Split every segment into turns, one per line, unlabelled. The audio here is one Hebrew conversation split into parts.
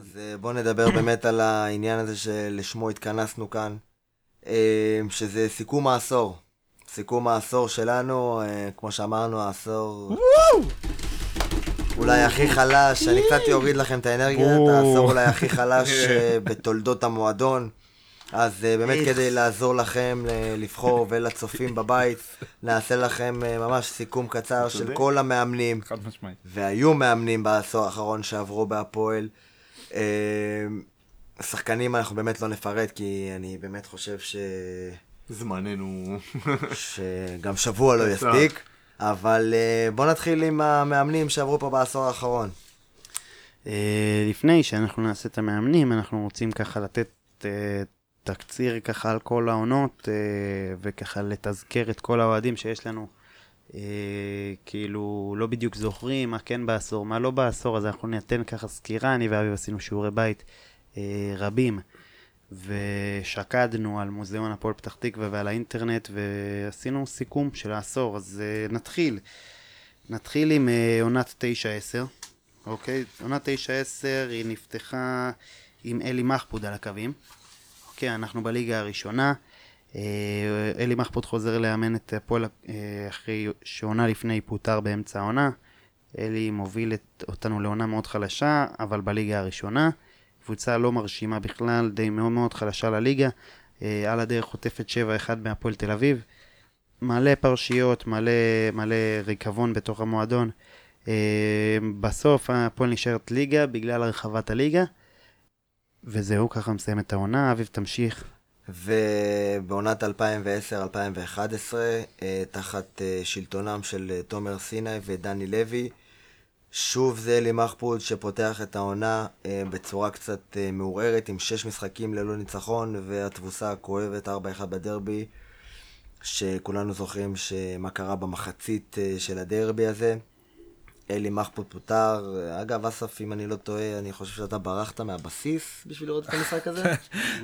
אז אה, בואו נדבר באמת על העניין הזה שלשמו התכנסנו כאן, אה, שזה סיכום העשור. סיכום העשור שלנו, אה, כמו שאמרנו, העשור אולי הכי חלש, אני קצת אוריד לכם את האנרגיה,
בואו.
העשור אולי הכי חלש אה, בתולדות המועדון. אז אה, באמת כדי לעזור לכם אה, לבחור ולצופים בבית, נעשה לכם אה, ממש סיכום קצר של
צודק.
כל המאמנים.
חד משמעית.
והיו מאמנים בעשור האחרון שעברו בהפועל. אה, השחקנים אנחנו באמת לא נפרט, כי אני באמת חושב ש...
זמננו...
שגם שבוע לא
קצר.
יספיק. אבל אה, בוא נתחיל עם המאמנים שעברו פה בעשור האחרון.
אה, לפני שאנחנו נעשה את המאמנים, אנחנו רוצים ככה לתת אה, תקציר ככה על כל העונות, אה, וככה לתזכר את כל האוהדים שיש לנו, אה, כאילו לא בדיוק זוכרים מה כן בעשור, מה לא בעשור, אז אנחנו ניתן ככה סקירה, אני ואביב עשינו שיעורי בית אה, רבים. ושקדנו על מוזיאון הפועל פתח תקווה ועל האינטרנט ועשינו סיכום של העשור, אז אה, נתחיל. נתחיל עם אה, עונת 9-10, אוקיי? עונת 9-10 היא נפתחה עם אלי מחפוד על הקווים. אוקיי, אנחנו בליגה הראשונה. אה, אלי מחפוד חוזר לאמן את הפועל אה, אחרי שעונה לפני פוטר באמצע העונה. אלי מוביל את, אותנו לעונה מאוד חלשה, אבל בליגה הראשונה. קבוצה לא מרשימה בכלל, די מאוד מאוד חלשה לליגה. אה, על הדרך חוטפת 7-1 מהפועל תל אביב. מלא פרשיות, מלא, מלא ריקבון בתוך המועדון. אה, בסוף הפועל נשארת ליגה בגלל הרחבת הליגה, וזהו, ככה מסיים את העונה. אביב, תמשיך.
ובעונת 2010-2011, אה, תחת אה, שלטונם של אה, תומר סיני ודני לוי, שוב זה אלי מחפוד שפותח את העונה אה, בצורה קצת אה, מעורערת, עם שש משחקים ללא ניצחון, והתבוסה הכואבת 4-1 בדרבי, שכולנו זוכרים שמה קרה במחצית אה, של הדרבי הזה. אלי מחפוד פוטר, אגב, אסף, אם אני לא טועה, אני חושב שאתה ברחת מהבסיס בשביל לראות את המשחק הזה.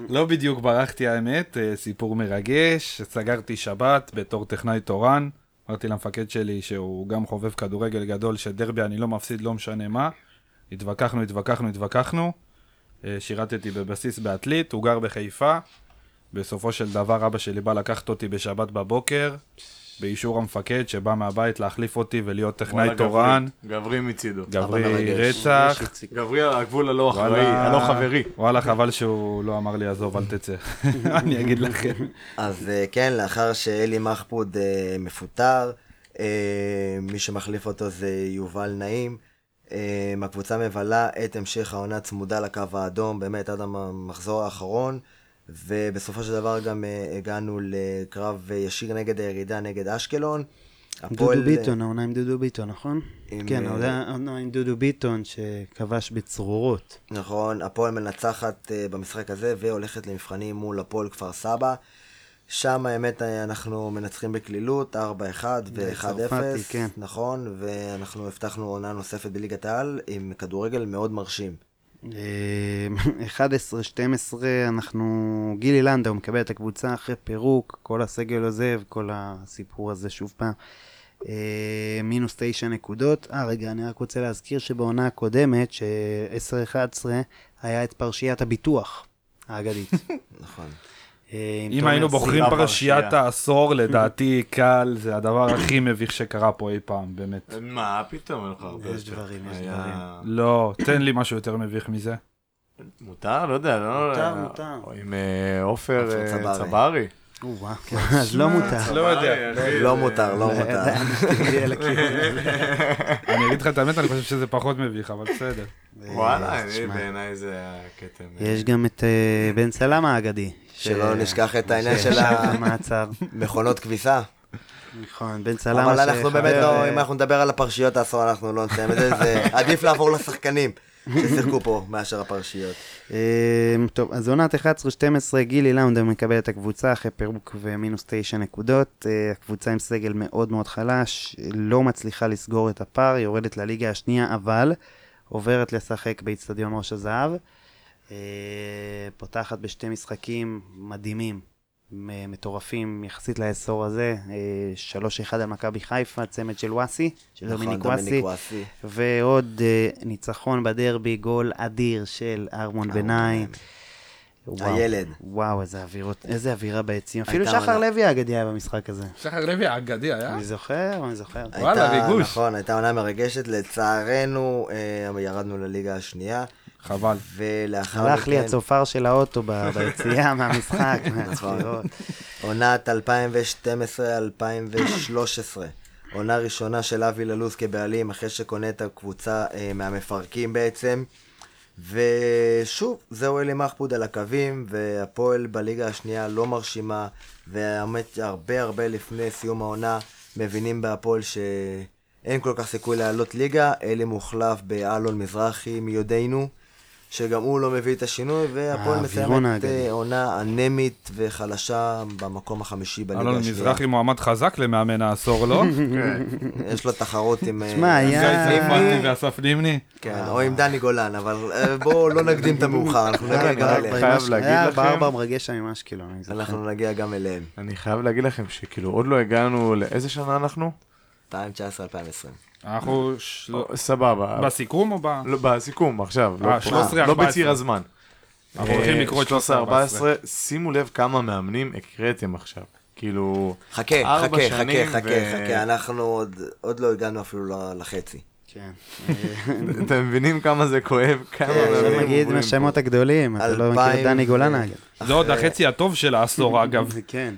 לא בדיוק ברחתי האמת, אה, סיפור מרגש, סגרתי שבת בתור טכנאי תורן, אמרתי למפקד שלי שהוא גם חובב כדורגל גדול, שדרבי אני לא מפסיד לא משנה מה, התווכחנו, התווכחנו, התווכחנו, אה, שירתתי בבסיס בעתלית, הוא גר בחיפה, בסופו של דבר אבא שלי בא לקחת אותי בשבת בבוקר, באישור המפקד שבא מהבית להחליף אותי ולהיות
וואלה,
טכנאי
גברי.
תורן,
גברי מצידו.
אבא
גברי
מרגש.
רצח,
גברי על הגבול הלא אחראי, הלא חברי.
וואלה, חבל שהוא לא אמר לי, עזוב, אל תצא. אני אגיד לכם.
אז אה, כן, לאחר שאלי מחפוד אה, מפוטר, אה, מי שמחליף אותו זה יובל נעים. אה, הקבוצה מבלה את המשך העונה צמודה לקו האדום, באמת עד המחזור האחרון, ובסופו של דבר גם אה, הגענו לקרב אה, ישיר נגד הירידה, נגד אשקלון.
דודו
הפועל- אה,
ביטון, העונה עם דודו ביטון, נכון?
עם,
כן,
אה,
העונה העונה עם דודו ביטון שכבש בצרורות.
נכון, הפועל מנצחת אה, במשחק הזה והולכת למבחנים מול הפועל כפר סבא. שם האמת אה, אנחנו מנצחים בקלילות, 4-1 ו-1-0,
צרפתי, כן.
נכון, ואנחנו הבטחנו עונה נוספת בליגת העל עם כדורגל מאוד מרשים.
אה, 11-12, אנחנו... גילי לנדאו מקבל את הקבוצה אחרי פירוק, כל הסגל עוזב, כל הסיפור הזה שוב פעם. אה, מינוס תשע נקודות. אה, רגע, אני רק רוצה להזכיר שבעונה הקודמת, ש-10-11, היה את פרשיית הביטוח האגדית.
נכון.
אה, עם
אם
תומר
היינו
סיני.
בוחרים
סיבה
פרשיית
פרשייה.
העשור, לדעתי קל, זה הדבר הכי מביך שקרה פה אי פעם, באמת.
מה פתאום, אין לך הרבה.
יש
יותר.
דברים, יש
היה-
לא, תן לי משהו יותר מביך מזה.
מותר? לא יודע, לא...
מותר,
אה,
מותר.
או עם אה, עופר
עופר
אה,
צברי.
צברי.
או-אה,
כן.
אז לא מותר.
לא יודע.
אחי,
לא
זה-
מותר, לא מותר.
אה,
אני אגיד לך את האמת, אני חושב שזה פחות מביך, אבל בסדר.
וואלה,
אה,
אני-
תשמע,
בעיניי זה היה קטע. מ-
יש גם את אה, בן סלם האגדי. ש-
שלא נשכח את העניין של
שישב
ה-
במעצר.
מכונות כביסה.
נכון, בן סלמה
אבל אנחנו
שחבר,
באמת לא,
אה,
אם אנחנו נדבר על הפרשיות העשור, אנחנו לא נסיים את זה, זה עדיף לעבור לשחקנים ששיחקו פה מאשר הפרשיות.
אה, טוב, אז עונת 11-12, גילי לאונדר מקבל את הקבוצה אחרי פירוק ומינוס 9 נקודות. אה, הקבוצה עם סגל מאוד מאוד חלש, לא מצליחה לסגור את הפער, יורדת לליגה השנייה, אבל עוברת לשחק באיצטדיון ראש הזהב. אה, פותחת בשתי משחקים מדהימים מ- מטורפים יחסית לעשור הזה, אה, 3-1 על מכבי חיפה, צמד של וואסי, של
נכון,
דומיניק
דומיניק וואסי.
וואסי, ועוד אה, ניצחון בדרבי, גול אדיר של ארמון ביניים. וואו,
הילד.
וואו, איזה אווירות, איזה אווירה ביציעים. אפילו
הייתה
שחר
עונה.
לוי האגדי היה במשחק הזה.
שחר לוי האגדי היה?
אני זוכר, אני זוכר.
וואלה,
הייתה-
ריגוש.
נכון, הייתה עונה מרגשת. לצערנו, אה, ירדנו לליגה השנייה,
חבל.
ולאחר מכן...
הלך לי הצופר של האוטו ב- ביציאה מהמשחק,
נכון. כן,
מהצפירות.
לא. עונת 2012-2013. עונה ראשונה של אבי ללוז כבעלים, אחרי שקונה את הקבוצה אה, מהמפרקים בעצם. ושוב, זהו אלי מחפוד על הקווים, והפועל בליגה השנייה לא מרשימה, והאמת הרבה הרבה לפני סיום העונה מבינים בהפועל שאין כל כך סיכוי לעלות ליגה, אלי מוחלף באלון מזרחי מיודענו, שגם הוא לא מביא את השינוי, והפועל
האווירון
מסיימת
האגדי.
אה, עונה אנמית וחלשה במקום החמישי בליגה
אלון
השנייה.
מזרחי
לא.
מועמד חזק למאמן העשור, לא?
יש לו תחרות עם... אה,
שמע,
גיא צרפתי
היה...
ואסף נימני.
כן, או עם דני גולן, אבל אה, בואו לא נקדים את המאוחר, אנחנו נגיע גם
חייב
אליהם.
חייב להגיד
היה
לכם-
בארבע מרגש שם עם אשקלון, אני זוכר.
אנחנו נגיע גם אליהם.
אני חייב להגיד לכם שכאילו עוד לא הגענו לאיזה שנה אנחנו?
2019-2020.
אנחנו של-
או, סבבה.
בסיכום או ב...
לא, בסיכום עכשיו, לא
לא. אה,
פה.
13,
לא
14.
בציר הזמן.
אנחנו הולכים לקרוא את
13,
14.
14, שימו לב כמה מאמנים הקראתם עכשיו. כאילו...
חכה,
ארבע
חכה,
שנים
חכה, חכה, חכה, אנחנו עוד- עוד לא הגענו אפילו ל- לחצי.
כן.
אתם מבינים כמה זה כואב? כמה
כן,
מאמנים
אפשר להגיד
עוברים פה.
מהשמות הגדולים, אתה לא מכיר
אלפיים
את דני גולן
ו-
האגד.
זה עוד החצי הטוב של העשור, אגב.
זה כן.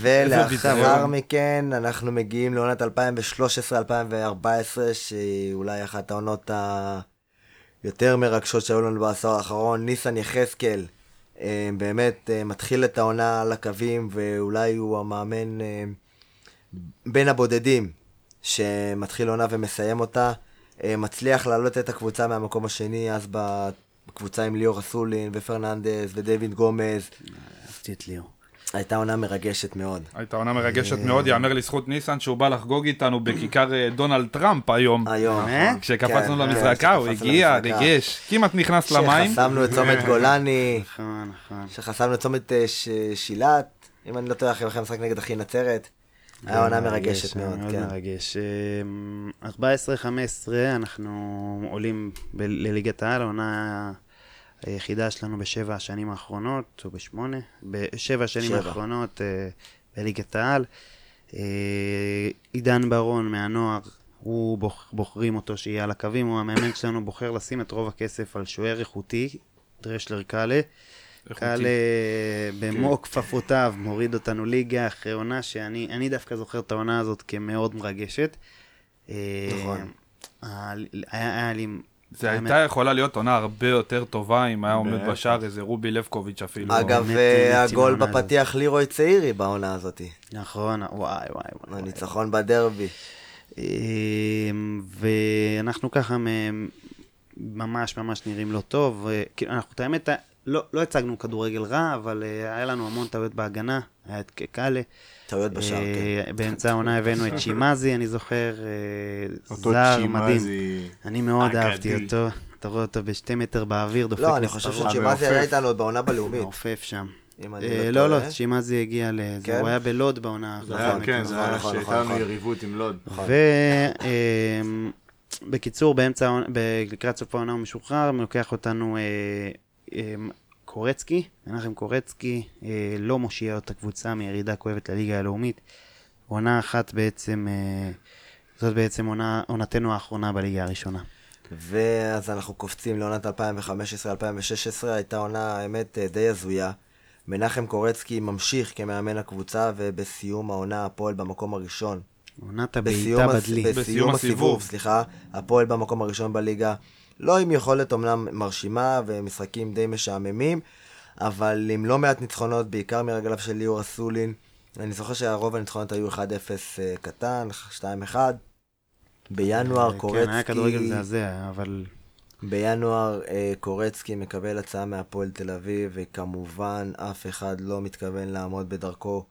ולאחר
ביזיון.
מכן אנחנו מגיעים לעונת 2013-2014, שהיא אולי אחת העונות היותר מרגשות שהיו לנו בעשור האחרון. ניסן יחזקאל אה, באמת אה, מתחיל את העונה על הקווים, ואולי הוא המאמן אה, בין הבודדים שמתחיל עונה ומסיים אותה. אה, מצליח להעלות את הקבוצה מהמקום השני, אז בקבוצה עם ליאור אסולין ופרננדס ודייוויד גומז.
אהבתי את ליאור.
הייתה עונה מרגשת מאוד.
הייתה עונה מרגשת מאוד, יאמר לזכות ניסן שהוא בא לחגוג איתנו בכיכר אה, דונלד טראמפ היום.
היום. אה?
באמת?
כשקפצנו
כן,
למזרקה, הוא
כשקפצנו
הגיע,
למזרקה.
ריגש, כמעט נכנס למים.
שחסמנו את צומת גולני,
נכון, נכון.
שחסמנו את צומת אה, ש- שילת, אם אני לא טועה, אחרי המשחק נגד אחי נצרת. היה עונה מרגשת מאוד,
אה, מאוד
כן.
מרגש. אמ, 14-15, אנחנו עולים ב- לליגת העל, העונה היחידה שלנו בשבע השנים האחרונות, או בשמונה, בשבע השנים
שבע.
האחרונות אה, בליגת העל. אה, עידן ברון מהנוער, הוא בוח- בוחרים אותו שיהיה על הקווים, הוא המאמן שלנו, בוחר לשים את רוב הכסף על שוער איכותי, דרשלר קאלה. קהל אה, במו כפפותיו מוריד אותנו ליגה אחרי עונה שאני אני דווקא זוכר את העונה הזאת כמאוד מרגשת. אה,
נכון.
היה היה לי...
זה
האמת,
הייתה יכולה להיות עונה הרבה יותר טובה אם היה עומד
בטח.
בשער איזה רובי לבקוביץ' אפילו.
אגב,
באמת,
אה,
אה,
הגול
העונה הזאת.
בפתיח לירוי צעירי בעונה הזאת.
נכון, וואי וואי וואי.
הניצחון בדרבי.
אמ, ואנחנו ככה מ- ממש ממש נראים לא טוב. אה, כאילו, אנחנו, את האמת, אה, לא, לא הצגנו כדורגל רע, אבל אה, היה לנו המון טעויות בהגנה, היה את קקאלה.
טעויות בשער,
אה,
כן.
באמצע העונה הבאנו את שימאזי, אני זוכר, אה,
אותו
זר
צ'ימאזי.
מדהים. אני מאוד
אגדי.
אהבתי אותו, אתה רואה אותו בשתי מטר באוויר, דופק
לא, אני חושב
מספרות.
שצ'ימאזי
המעופף.
היה איתנו עוד בעונה בלאומית.
מעופף שם.
אם אני
אה,
לא
לא,
טועה.
לא, צ'ימאזי הגיע לזה,
כן?
הוא היה בלוד בעונה האחרונה.
זה היה,
נכון,
כן, זה היה
נכון,
שהייתה
נכון,
לנו
נכון.
יריבות עם לוד.
ובקיצור, באמצע, העונה- ב- לקראת סוף העונה הוא משוחרר, לוקח אותנו אה, אה, קורצקי, מנחם קורצקי, אה, לא מושיע את הקבוצה מירידה כואבת לליגה הלאומית. עונה אחת בעצם, אה, זאת בעצם עונה- עונתנו האחרונה בליגה הראשונה.
ואז אנחנו קופצים לעונת 2015-2016, הייתה עונה, האמת, אה, די הזויה. מנחם קורצקי ממשיך כמאמן הקבוצה, ובסיום העונה הפועל במקום הראשון.
עונת
בסיום,
הבעיטה
הס-
בדלי.
בסיום הסיבוב, סליחה, הפועל במקום הראשון בליגה. לא עם יכולת אומנם מרשימה ומשחקים די משעממים, אבל עם לא מעט ניצחונות, בעיקר מרגליו של ליאור אסולין. אני זוכר שהרוב הניצחונות היו 1-0 אה, קטן, 2-1. בינואר קורצקי...
אה, כן, היה כדורגל מזעזע, אבל...
בינואר אה, קורצקי מקבל הצעה מהפועל תל אביב, וכמובן אף אחד לא מתכוון לעמוד בדרכו,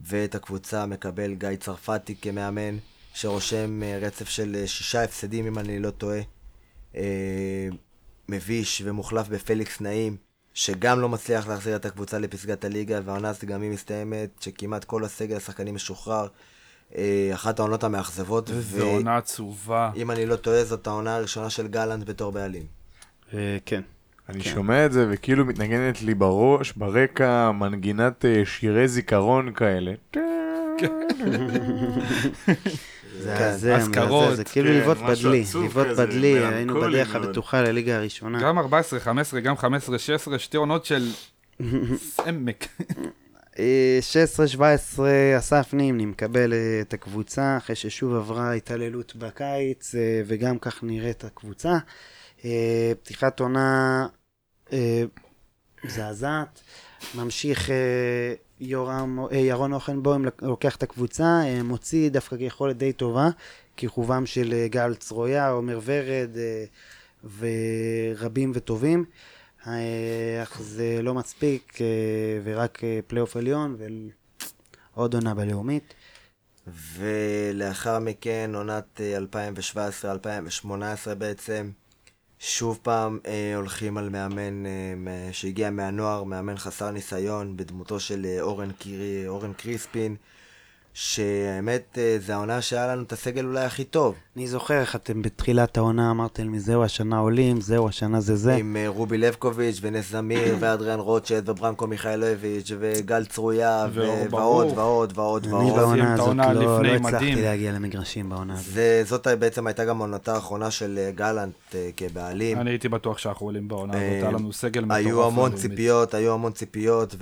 ואת הקבוצה מקבל גיא צרפתי כמאמן, שרושם אה, רצף של אה, שישה הפסדים אם אני לא טועה. אה, מביש ומוחלף בפליקס נעים, שגם לא מצליח להחזיר את הקבוצה לפסגת הליגה, והעונה הזאת גם היא מסתיימת, שכמעט כל הסגל השחקנים משוחרר. אה, אחת העונות המאכזבות,
זו עונה עצובה.
ואם אני לא טועה, זאת העונה הראשונה של גלנט בתור בעלים.
אה, כן.
אני שומע את זה וכאילו מתנגנת לי בראש, ברקע, מנגינת אה, שירי זיכרון כאלה.
זה
כן.
הזה,
אזכרות,
זה כאילו
כן,
לבעוט
משהו
בדלי,
עצוב
לבעוט
כזה,
בדלי, היינו
מלנכולי
בדרך
מאוד.
הבטוחה לליגה הראשונה.
גם 14, 15, גם 15, 16, שתי עונות של סמק.
אה, 16-17, אסף נימני מקבל אה, את הקבוצה, אחרי ששוב עברה התעללות בקיץ, אה, וגם כך נראית הקבוצה. אה, פתיחת עונה אה, מזעזעת. ממשיך אה, יורם, אה, ירון אוכנבוים לק- לוקח את הקבוצה, אה, מוציא דווקא יכולת די טובה, כיכובם של אה, גל צרויה, עומר ורד אה, ורבים וטובים. אה, אך זה לא מספיק, אה, ורק אה, פלייאוף עליון ועוד עונה בלאומית.
ולאחר מכן עונת אה, 2017-2018 בעצם, שוב פעם אה, הולכים על מאמן אה, מ- שהגיע מהנוער, מאמן חסר ניסיון, בדמותו של אה, אורן, קירי, אורן קריספין, שהאמת אה, זה העונה שהיה לנו את הסגל אולי הכי טוב,
אני זוכר איך אתם בתחילת העונה אמרתם לי, זהו השנה עולים, זהו השנה זה זה.
עם אה, רובי לבקוביץ' ונס זמיר ואדריאן רוטשט וברנקו מיכאילוביץ' וגל צרויה ו- ועוד
ואור ברוך.
ועוד ועוד
אני
ועוד.
סיים את
בעונה הזאת
העונה
לא לא
לפני,
הצלחתי
מדהים.
להגיע למגרשים בעונה הזאת.
זה, זאת בעצם הייתה גם עונתה האחרונה של אה, גלנט אה, כבעלים.
אני הייתי בטוח שאנחנו עולים בעונה הזאת, היה לנו סגל מטורף.
אה, היו המון
ללאומית.
ציפיות, היו המון ציפיות,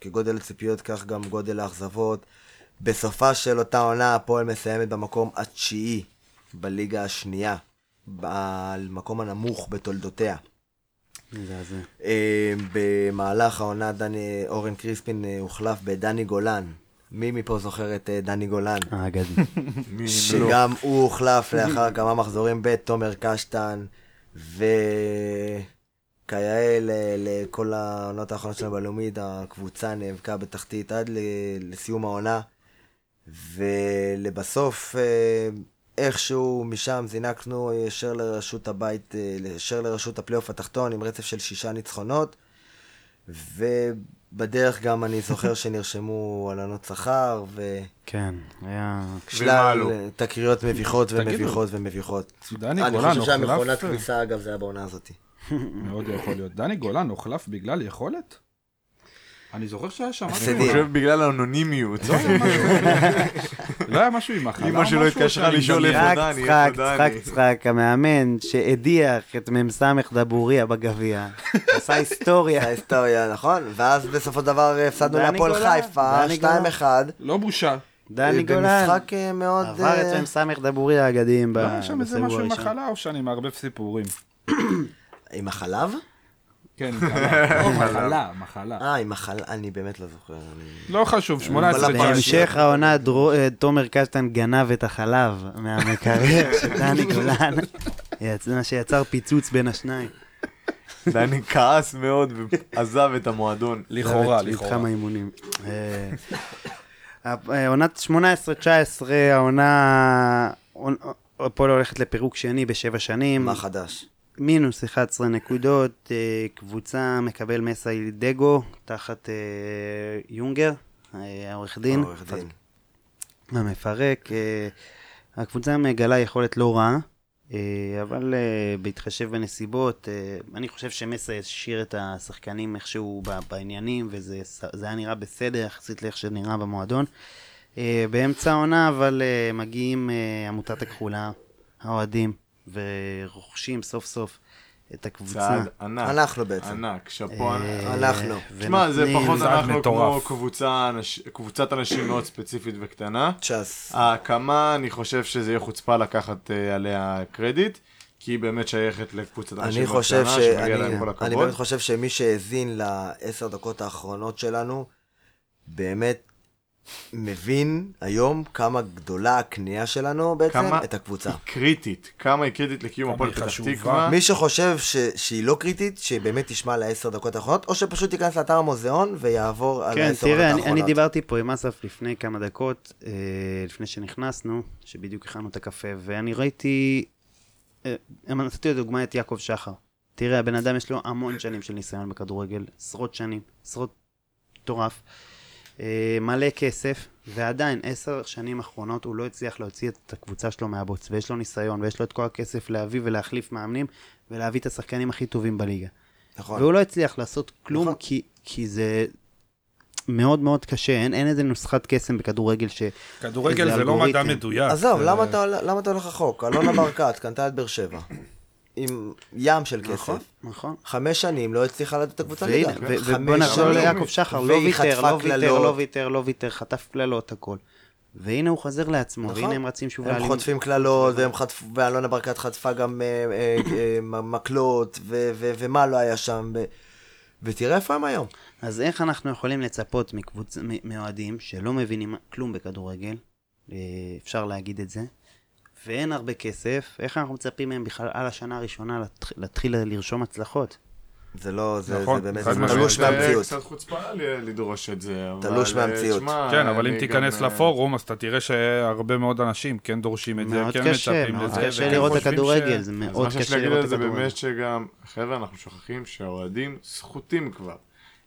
וכגודל הציפיות כך גם גודל האכזבות. בסופה של אותה עונה הפועל מסיימת במקום התשיעי בליגה השנייה, במקום הנמוך בתולדותיה.
מזעזע.
אה, במהלך העונה דני, אורן קריספין אה, הוחלף בדני גולן. מי מפה זוכר את אה, דני גולן?
האגדי.
מי אם לא?
שגם הוא הוחלף לאחר כמה מחזורים בתומר קשטן, וכיאה ל- לכל העונות האחרונות שלנו בלאומית, הקבוצה נאבקה בתחתית עד ל- לסיום העונה, ולבסוף, אה, איכשהו משם זינקנו ישר לראשות הבית, אה, ישר לראשות הפלייאוף התחתון עם רצף של שישה ניצחונות, ובדרך גם אני זוכר שנרשמו הלנות שכר, ו...
כן, היה...
שלל
ומעלו.
לא?
תקריות מביכות
תגידו.
ומביכות ומביכות.
דני
אה, אני
גולן
חושב שהמכונת
הוחלף,
כביסה, אגב, זה היה בעונה הזאת.
מאוד יכול להיות. דני גולן הוחלף בגלל יכולת? אני זוכר שהיה שם... משהו
הפסדים.
עם-
אני חושב בגלל האנונימיות.
לא היה משהו- לא היה משהו עם מחלה?
אמא שלו
משהו
התקשרה
שאני
לשאול
מדמיין?
איפה
צחק,
דני,
צחק,
איפה
צחק,
דני?
צחק, המאמן שהדיח את מ"ס דבוריה בגביע, עשה היסטוריה.
ההיסטוריה, נכון? ואז בסופו של דבר הפסדנו
דני
להפועל
גולן,
חיפה,
דני
2-1.
לא בושה.
דני גולן
במשחק אה, מאוד...
עבר
אה,
את מ"ס דבוריה האגדיים ב-
לא היה שם איזה
בסיבוב
משהו עם
הראשון.
מחלה או שאני מערבב סיפורים?
עם החלב?
כן, מחלה. לא, מחלה, מחלה.
אה, עם החלב, אני באמת לא זוכר. אני-
לא חשוב,
אה,
18
אבל בהמשך-
תשע.
בהמשך העונה דרו- אה, תומר קשטן גנב את החלב מהמקרר של דני גולן, יצ- מה שיצר פיצוץ בין השניים.
דני כעס מאוד ועזב את המועדון.
לכאורה,
מתחם
לכאורה.
האימונים. לא, אה, אה, עונת 18-19, העונה... עונ- אה, הפועל הולכת לפירוק שני בשבע שנים,
נכון.
מה חדש?
מינוס 11 נקודות, אה, קבוצה מקבל מסע דגו תחת אה, יונגר, אה, העורך דין.
העורך דין.
המפרק. אה, הקבוצה מגלה יכולת לא רעה, אה, אבל אה, בהתחשב בנסיבות, אה, אני חושב שמסה השאיר את השחקנים איכשהו ב- בעניינים, וזה ס- זה היה נראה בסדר יחסית לאיך שנראה במועדון. אה, באמצע העונה, אבל אה, מגיעים אה, עמותת הכחולה, האוהדים, ורוכשים סוף סוף את הקבוצה.
צעד ענק.
אנחנו בעצם.
ענק, שאפו ענק.
אה,
אנחנו.
תשמע, זה
ונותנים-
פחות
צעד
אנחנו כמו
מטורף.
קבוצה אנש- קבוצת אנשים מאוד ספציפית וקטנה.
צ'אס.
ההקמה, אני חושב שזה יהיה חוצפה לקחת אה, עליה קרדיט, כי היא באמת שייכת לקבוצת אנשים
אני
מאוד
חושב
קטנה,
ש...
שמגיע
אני-
להם כל
אני
הכבוד.
באמת חושב שמי שהאזין לעשר דקות האחרונות שלנו, באמת מבין היום כמה גדולה הקנייה שלנו בעצם,
כמה-
את הקבוצה.
היא קריטית, כמה היא קריטית לקיום
כמה
הפועל
היא
פתח
חשובה.
תקווה.
מי שחושב ש... שהיא לא קריטית, שבאמת תשמע לעשר דקות האחרונות, או שפשוט ייכנס לאתר המוזיאון ויעבור על
כן,
העשר דקות
תראה, אני,
האחרונות.
אני דיברתי פה עם אסף לפני כמה דקות, אה, לפני שנכנסנו, אמ, שבדיוק הכנו את הקפה, ואני ראיתי, אה, נתתי לדוגמה את יעקב שחר, תראה, הבן אדם יש לו המון שנים של ניסיון בכדורגל, עשרות שנים, עשרות מטורף, אה, מלא כסף, ועדיין, עשר שנים אחרונות הוא לא הצליח להוציא את הקבוצה שלו מהבוץ, ויש לו ניסיון, ויש לו את כל הכסף להביא ולהחליף מאמנים, ולהביא את השחקנים הכי טובים בליגה.
נכון.
והוא לא הצליח לעשות כלום,
נכון.
כי, כי זה מאוד מאוד קשה, אין, אין איזה נוסחת קסם בכדורגל ש...
כדורגל
איזה
זה לא מדע
אלגוריתם.
מדויק.
עזוב,
אה,
זה-
למה אתה- למה אתה הולך רחוק? אלונה ברקת קנתה את באר שבע. עם ים של כסף.
נכון.
חמש שנים לא הצליחה לדעת את הקבוצה
והנה,
ליגה.
ו-
חמש
ובוא נחזור
שנים.
ליעקב שחר, לא
והיא
ויתר,
חטפה
לא ויתר,
קללות.
לא ויתר, לא ויתר, חטף קללות, הכל. והנה הוא חוזר לעצמו,
נכון.
והנה הם רצים שוב
הם חוטפים קללות, והם חטפו- ואלונה ברקת חטפה גם אה, אה, אה, מקלות, ו- ו- ומה לא היה שם. ו- ותראה איפה הם היום.
אז איך אנחנו יכולים לצפות מקבוצ- מ- מאוהדים שלא מבינים כלום בכדורגל, אה, אפשר להגיד את זה, ואין הרבה כסף, איך אנחנו מצפים מהם בכלל על השנה הראשונה להתח- להתחיל לרשום הצלחות?
זה לא, זה
נכון,
זה באמת
חד
זה
משמעית.
תלוש
זה
מהמציאות.
קצת חוצפה ל- לדרוש את זה. אבל,
תלוש
אה,
מהמציאות.
שמע,
כן, אבל אם
אני
תיכנס
גם, אה,
לפורום, אז אתה תראה שהרבה מאוד אנשים כן דורשים את זה,
מאוד
כן
קשה,
מצפים
מאוד
לזה.
קשה
וכן
לראות את
חושבים
הכדורגל,
ש-
זה
אז מה
מאוד
שיש
קשה
להגיד
לראות
על
את
זה
הכדורגל.
באמת שגם, חבר'ה, אנחנו שוכחים שהאוהדים סחוטים כבר.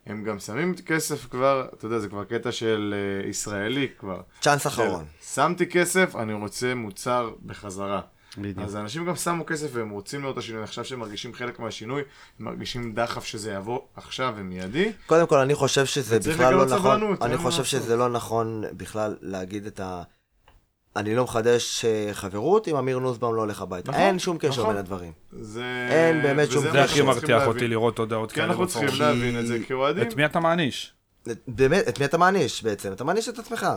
הם גם שמים כסף כבר, אתה יודע, זה כבר קטע של אה, ישראלי כבר.
צ'אנס אחרון.
שמתי כסף, אני רוצה מוצר בחזרה.
בדיוק.
אז אנשים גם שמו כסף והם רוצים לראות את השינוי. עכשיו שהם מרגישים חלק מהשינוי, הם מרגישים דחף שזה יבוא עכשיו ומיידי.
קודם כל, אני חושב שזה
וצריך
בכלל לא
לגלות
נכון,
סבלנות, אין
אני
מה
חושב
לעשות.
שזה לא נכון בכלל להגיד את ה... אני לא מחדש אה, חברות אם אמיר נוסבאום לא הולך הביתה.
נכון,
אין שום קשר
נכון.
בין הדברים.
זה...
אין באמת
וזה
שום דבר.
זה
מה שאנחנו
הכי
צריכים
מרתיח
להבין.
אותי לראות הודעות
כי
כאלה
כן, אנחנו
בפורום.
צריכים להבין את זה כאוהדים.
את מי אתה מעניש?
באמת, את מי אתה מעניש בעצם? אתה מעניש את עצמך.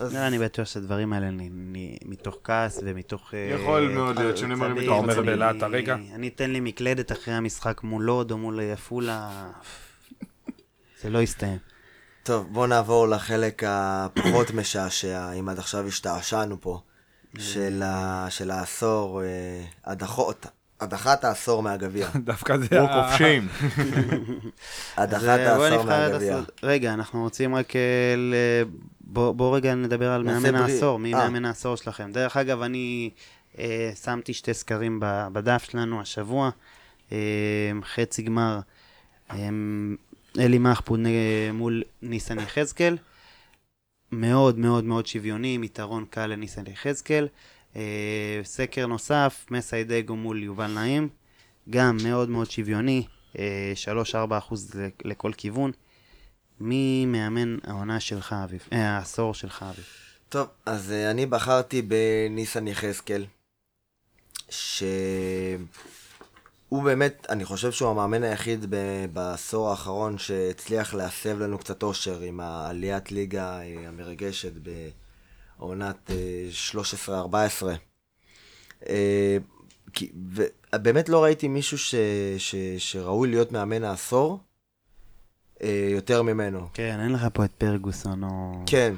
אז-
לא, אני בטוח שהדברים האלה נ- נ- מתוך כעס ומתוך... אה,
יכול מאוד להיות שהם נאמרים
עצבים.
מתוך
אתה אומר
עצבים.
בלהט הרגע?
אני- אני אתן לי מקלדת אחרי המשחק מול לוד או מול אה, עפולה. זה לא יסתיים.
טוב, בואו נעבור לחלק הפחות משעשע, אם עד עכשיו השתעשענו פה, של, ה... של העשור, אה, הדחות, הדחת העשור מהגביע.
דווקא זה...
כמו
ה-
כובשים.
הדחת
אז, אה, בוא
העשור
נבחר את
מהגביע.
הסוד. רגע, אנחנו רוצים רק... אה, ל- בוא בוא רגע נדבר על
נעשה
מאמן
בריא.
העשור, מי
אה.
מאמן העשור שלכם. דרך אגב, אני אה, שמתי שתי סקרים ב- בדף שלנו השבוע. אה, חצי גמר, אה, אלי מחפוד נג- מול ניסן יחזקאל. מאוד מאוד מאוד שוויוני, עם יתרון קל לניסן יחזקאל. אה, סקר נוסף, מסיידגו מול יובל נעים, גם מאוד מאוד שוויוני, אה, 3-4 אחוז ל- לכל כיוון. מי מאמן העונה שלך, אביב? אה, העשור שלך, אביב.
טוב, אז אה, אני בחרתי בניסן יחזקאל, שהוא באמת, אני חושב שהוא המאמן היחיד ב- בעשור האחרון שהצליח להסב לנו קצת אושר עם העליית ליגה אה, המרגשת בעונת אה, 13-14. אה, כי- ו- באמת לא ראיתי מישהו ש, ש, שראוי להיות מאמן העשור אה, יותר ממנו.
כן, אין לך פה את פרגוסון או...
כן.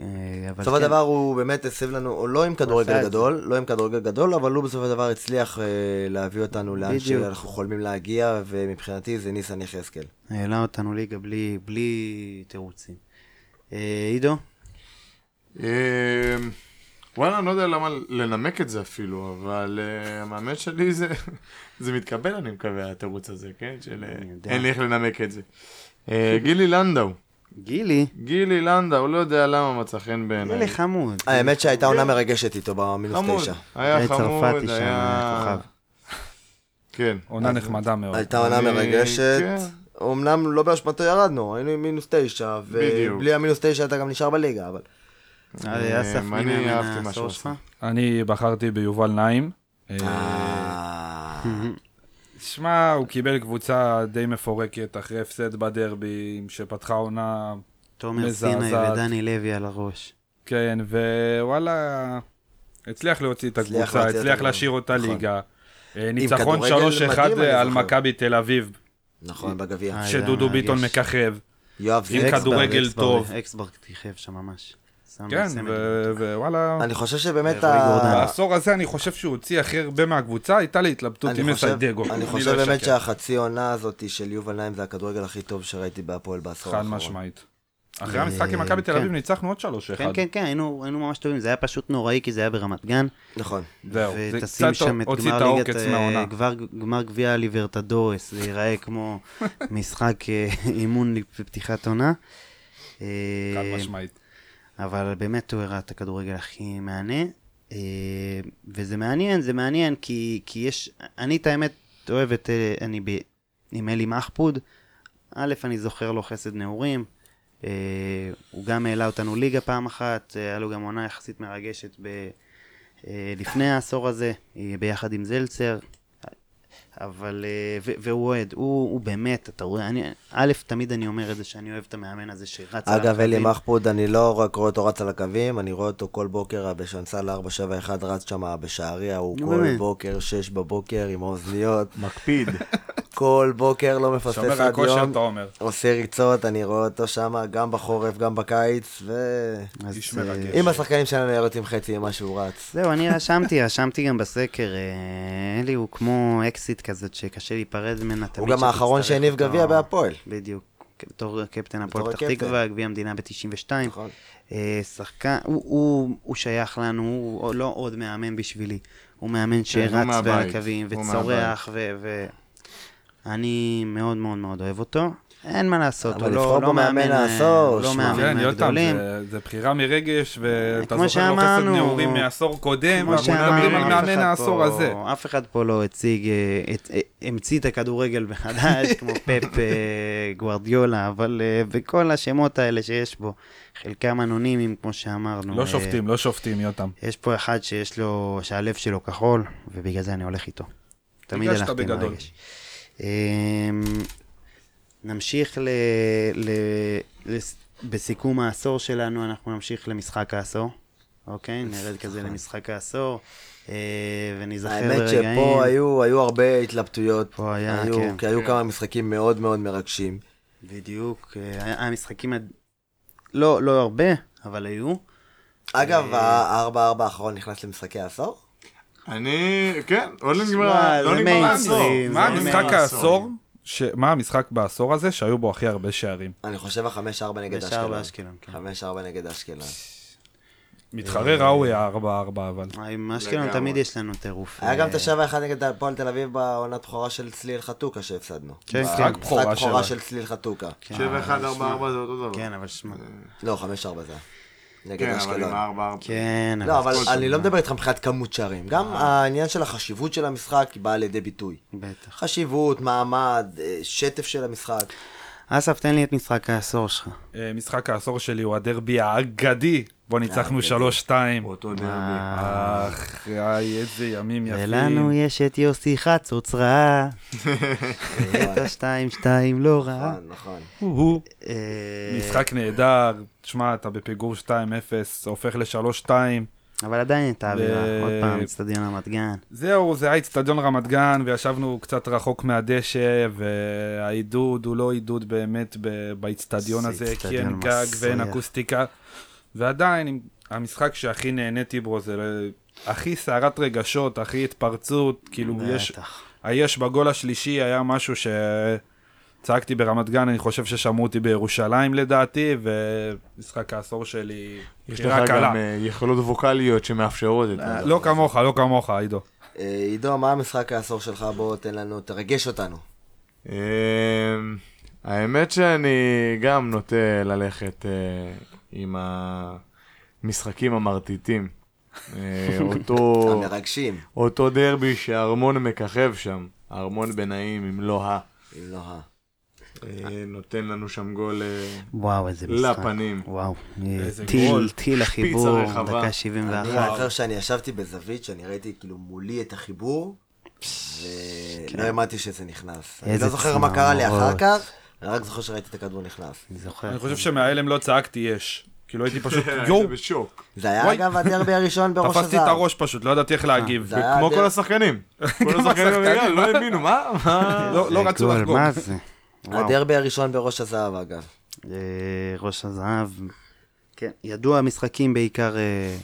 אה, אבל
בסוף
כן,
הדבר הוא באמת הסב לנו, הוא לא עם
עשה
כדורגל
את
גדול, לא עם כדורגל גדול, אבל הוא בסוף הדבר הצליח אה, להביא אותנו לאן
בדיוק.
שאנחנו חולמים להגיע, ומבחינתי זה ניסן יחזקאל.
העלה אותנו ליגה בלי, בלי תירוצים. אה, עידו?
אה, וואלה, אני לא יודע למה לנמק את זה אפילו, אבל אה, המאמן שלי זה... זה מתקבל, אני מקווה, התירוץ הזה, כן? של אה,
אני יודע.
אין לי איך לנמק את זה. אה, גילי לנדאו.
גילי?
גילי לנדאו, לא יודע למה מצא חן בעיניי.
גילי חמוד.
האמת שהייתה עונה מרגשת איתו במינוס
חמוד.
תשע.
היה
היה
חמוד,
צרפתי שם,
היה...
הכוכב.
כן.
עונה נחמדה מאוד.
הייתה עונה
אני-
מרגשת,
כן.
אמנם לא באשמתו ירדנו, היינו עם מינוס תשע,
בדיוק.
ובלי המינוס תשע אתה גם נשאר בליגה, אבל...
אה, אסף, מי
אני
מאמן
אהבתי מה
העשור
שהוא
שלך?
עשה.
אני בחרתי ביובל נעים. אה,
אה,
שמע, הוא קיבל קבוצה די מפורקת אחרי הפסד בדרבי, שפתחה עונה,
תומר
מזעזעת.
סיני ודני לוי על הראש.
כן, ווואלה, הצליח להוציא את
הצליח
הקבוצה,
להוציא את
הצליח
הקבוצה,
להשאיר אותה
נכון.
ליגה. אה, ניצחון
כדורגל
3-1
מדהים, אני
על
זוכר.
מכבי תל אביב,
נכון, בגביע.
אה,
שדודו
מרגש.
ביטון מככב.
אה, יואב
עם
זקסברג.
כדורגל
אקסברג,
טוב.
אקסברג כיכב שם ממש. שם
כן,
סמל.
ו- ווואלה,
אני חושב שבאמת
רועי גורדנה.
ה...
בעשור הזה אני חושב שהוא הוציא הכי הרבה מהקבוצה, הייתה לי התלבטות עם
אני חושב,
מסיידגו.
אני חושב
לא
באמת שהחצי עונה הזאת של יובל נעים זה הכדורגל הכי טוב שראיתי בהפועל בעשור
חד
האחרון.
משמעית. אחרי המשחק עם מכבי תל אביב
כן.
ניצחנו עוד 3-1.
כן, כן, כן, היינו היינו ממש טובים, זה היה פשוט נוראי, כי זה היה ברמת גן.
נכון.
זהו, זה
ותשים
קצת
שם את
הוציא את
גמר ליגת,
העוקץ
אה,
מהעונה.
גבר- גמר גביע ליברטדורס, זה ייראה כמו משחק אה, אימון בפתיחת עונה. אה,
חד משמעית.
אבל באמת הוא הראה את הכדורגל הכי מהנה. אה, וזה מעניין, זה מעניין, כי, כי יש, אני את האמת אוהב את, אה, אני ב, עם אלי מחפוד, א', אני זוכר לו חסד נעורים, אה, הוא גם העלה אותנו ליגה פעם אחת, אה, היה לו גם עונה יחסית מרגשת ב, אה, לפני העשור הזה, אה, ביחד עם זלצר. אבל, אה, ו- והוא אוהד, הוא, הוא באמת, אתה רואה, אני, א', תמיד אני אומר את זה, שאני אוהב את המאמן הזה שרץ... על
אגב, אלי
הקווים.
מחפוד, אני לא רק רואה אותו רץ על הקווים, אני רואה אותו כל בוקר בשנסל 471 רץ שם בשעריה, הוא
נו,
כל
באמת.
בוקר, שש בבוקר, עם האוזניות,
מקפיד.
כל בוקר לא מפספס
שומר על
עד
כושר,
יום,
אתה אומר.
עושה ריצות, אני רואה אותו שם גם בחורף, גם בקיץ, ו...
אז,
איש
אה,
מרגש.
אם השחקנים שלנו יורדים חצי ממה שהוא רץ.
זהו, אני רשמתי, רשמתי גם בסקר. אה, אלי הוא כמו אקסיט כזאת שקשה להיפרד ממנה.
הוא
תמיד
גם האחרון
שתצטרך
שהניב
אותו.
גביע בהפועל.
בדיוק. בתור קפטן
בתור
הפועל פתח
הקפטן.
תקווה, גביע המדינה ב-92. אה,
נכון.
שחקן, הוא- הוא הוא שייך לנו, הוא לא עוד מאמן בשבילי. הוא מאמן
הוא
שרץ
מהבית,
בין הקווים
הוא
וצורח, ו... ו- אני מאוד מאוד מאוד אוהב אותו. אין מה לעשות,
אבל
הוא
לבחור
לא,
בו
לא
מאמן
מאמן, אה,
העשור,
הוא לא
שמע.
מאמן
כן, יותם,
מהגדולים.
זה- זה בחירה מרגש, ואתה
אה, כמו
זוכר לו חסד
שאמרנו,
נעורים מעשור קודם,
כמו
אנחנו
שאמרנו,
מדברים על
אף
מאמן
אחד
העשור
פה-
הזה.
אף אחד פה לא הציג, אה, את- אה, המציא את הכדורגל מחדש, כמו פפ אה, גוורדיולה, אבל אה, וכל השמות האלה שיש בו, חלקם אנונימיים, כמו שאמרנו.
לא
אה,
שופטים, לא שופטים, יותם.
יש פה אחד שיש לו, שהלב שלו כחול, ובגלל זה אני הולך איתו. תמיד
הרגשת
הלכתי עם
בגדול.
הרגש. אמ, נמשיך ל... ל... לס- בסיכום העשור שלנו, אנחנו נמשיך למשחק העשור, אוקיי? נרד כזה למשחק העשור, אה, ונזכר
האמת
ברגעים.
שפה היו היו הרבה התלבטויות.
פה היה,
היו-
כן.
כי היו כמה משחקים מאוד מאוד מרגשים.
בדיוק. אה, היה- היה משחקים... עד- לא, לא הרבה, אבל היו.
אגב,
אה,
ה-4-4 האחרון נכנס למשחקי העשור?
אני, כן, עוד לא
שמע,
נגמר, לא
זה
נגמר
מיינסטרים,
העשור.
זה כן,
מה
זה
המשחק העשור? ש- מה המשחק בעשור הזה שהיו בו הכי הרבה שערים?
אני חושב ה-5-4 נגד
בשער
אשקלון.
באשקלון, כן.
5-4 נגד אשקלון.
מתחרה ראוי ה-4-4 אבל.
אה, עם אשקלון
לגמרי.
תמיד יש לנו טירוף.
היה גם
אה,
את השבע אחד נגד הפועל תל אביב בעונת בכורה של צליל חתוקה שהפסדנו.
כן,
ב-
כן.
משחק
בכורה
בכורה
שלה.
של צליל חתוקה.
7-1-4-4 זה אותו דבר.
כן, אבל שמע.
לא, 5-4 זה היה. נגד
כן, אבל
אשקלון.
עם 4
כן,
לא, אבל אני לא מדבר איתך מבחינת כמות שערים. גם
אה.
העניין של החשיבות של המשחק היא באה לידי ביטוי.
בטח.
חשיבות, מעמד, אה, שטף של המשחק.
אסף, תן לי את משחק העשור שלך.
אה, משחק העשור שלי הוא הדרבי האגדי, בו ניצחנו 3-2.
אותו דרבי.
אך, איי, איזה ימים
ולנו
יפים.
יש את יוסי חצוץ רעה, את השתיים שתיים לא רעה.
אה?
נכון, אה, נכון.
הוא
אה,
משחק נהדר, תשמע, אתה בפיגור 2-0, הופך ל-3-2.
אבל עדיין הייתה
ו-
אווירה, עוד פעם, אצטדיון רמת גן.
זהו, זה היה אצטדיון רמת גן, וישבנו קצת רחוק מהדשא, והעידוד הוא לא עידוד באמת ב- באצטדיון
זה
הזה, כי
אצטדיון
אין גג ואין
מסריח.
אקוסטיקה. ועדיין, אם- המשחק שהכי נהניתי בו זה אה, הכי סערת רגשות, הכי התפרצות, כאילו יש
בטח.
היש בגול השלישי היה משהו שצעקתי ברמת גן, אני חושב ששמעו אותי בירושלים לדעתי, ומשחק העשור שלי,
יש
בחירה
לך
קלה.
גם אה, יכולות ווקאליות שמאפשרות את
אה,
זה.
לא כמוך, לא כמוך, עידו.
אה, עידו, מה המשחק העשור שלך? בוא תן לנו, תרגש אותנו.
אמ, האמת שאני גם נוטה ללכת אה, עם המשחקים המרטיטים. אה, אותו,
המרגשים,
אותו דרבי שהארמון מככב שם, הארמון בנעים אם לא ה.
אם לא ה...
אה, נותן לנו שם גול אה,
וואו, איזה משחק.
לפנים.
וואו, אה,
איזה גול.
טיל, טיל החיבור,
הרחבה.
דקה
אני
71.
זוכר שאני ישבתי בזווית, שאני ראיתי כאילו מולי את החיבור,
כן.
ולא האמנתי שזה נכנס. אני
איזה
לא זוכר מה קרה לי אחר
צמרמורות.
כך, אני רק זוכר שראיתי את הכדור נכנס.
אני זוכר.
אני חושב שמההלם לא צעקתי יש. כאילו הייתי פשוט, יואו,
היית בשוק.
זה היה
וואי.
אגב הדרבי הראשון בראש הזהב.
תפסתי את הראש פשוט, לא ידעתי איך להגיב.
זה היה
כמו
הדרבי-
כל השחקנים. כל השחקנים
השחקנים,
במגרש, לא הבינו, מה? מה?
לא לא
אה, זה
רצו
גול,
לחגוג.
מה זה? וואו.
הדרבי הראשון בראש הזהב אגב.
אה, ראש הזהב. כן, ידוע המשחקים בעיקר... אה,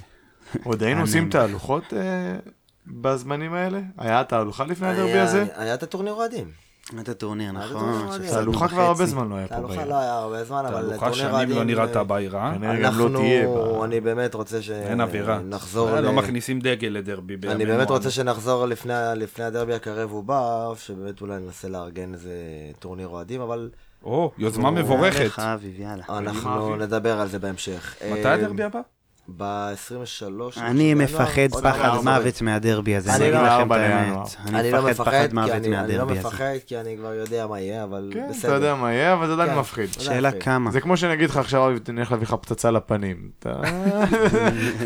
עוד היינו עושים תהלוכות אה, בזמנים האלה? היה תהלוכה לפני הדרבי
היה-
הזה?
היה את הטורניר אוהדים.
את הטורניר,
היה
נכון.
בטורניר,
שהפסדנו
תהלוכה כבר הרבה
בחצי.
זמן לא היה פה
תהלוכה
בעיר.
לא היה הרבה זמן, אבל
תהלוכה שנים לא נראתה בעיר, אה?
כן,
כנראה גם לא
אנחנו,
תהיה. ב-
אני באמת רוצה ש...
אין אווירה.
אה, נחזור
אה,
ל-
לא מכניסים דגל לדרבי.
אני
בימים
באמת
אלו.
רוצה שנחזור לפני, ה- לפני הדרבי הקרב ובא, שבאמת אולי ננסה לארגן איזה טורניר אוהדים, אבל
או, יוזמה
יאללה,
מבורכת. אה,
לך, אביב, יאללה.
אנחנו נדבר על זה בהמשך. אה,
מתי הדרבי הבא?
ב-23.
אני
לא-
מפחד פחד מוות מהדרבי הזה,
אני
אני אגיד
לא-
לכם את
ארבע לינואר.
האמת.
אני לא מפחד, כי אני- אני לא
מהדרבי הזה.
מפחד, כי אני כבר יודע מה יהיה, אבל
כן, אתה
בסדר.
יודע מה יהיה, אבל זה
כן.
עדיין מפחיד.
שאלה
להפריד.
כמה.
זה כמו שאני אגיד לך עכשיו, אביב, אני הולך להביא לך פצצה לפנים. אתה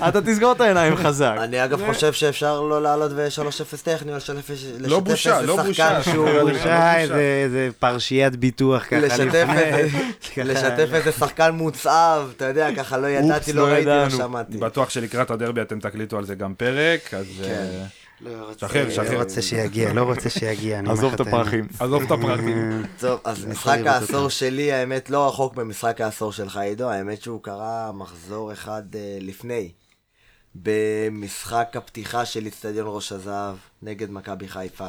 אתה תסגור את העיניים חזק.
אני אגב חושב שאפשר לא לעלות ב-3-0 טכני, או 3-0
לא בושה, לא בושה.
שהוא...
לא
בושה,
בושה.
איזה איזה פרשיית ביטוח ככה.
לשתף
לפני.
איזה- לשתף איזה שחקן מוצהב, אתה יודע, ככה לא
אופס,
ידעתי, לא
לא
ראיתי, לא
ידענו.
שמעתי.
אני בטוח שלקראת הדרבי אתם תקליטו על זה גם פרק, אז אה,
לא רוצה-
אה,
שחרר, שחרר.
לא רוצה שיגיע, לא רוצה שיגיע. אני אומר
עזוב
לך
את
האמת.
הפרחים.
עזוב את הפרטים.
אה,
טוב, אז
אני
משחק
יכול לראות
העשור
אותם.
שלי, האמת, לא רחוק ממשחק העשור שלך, עידו, האמת שהוא קרה מחזור אחד אה, לפני. במשחק הפתיחה של אצטדיון ראש הזהב נגד מכבי חיפה.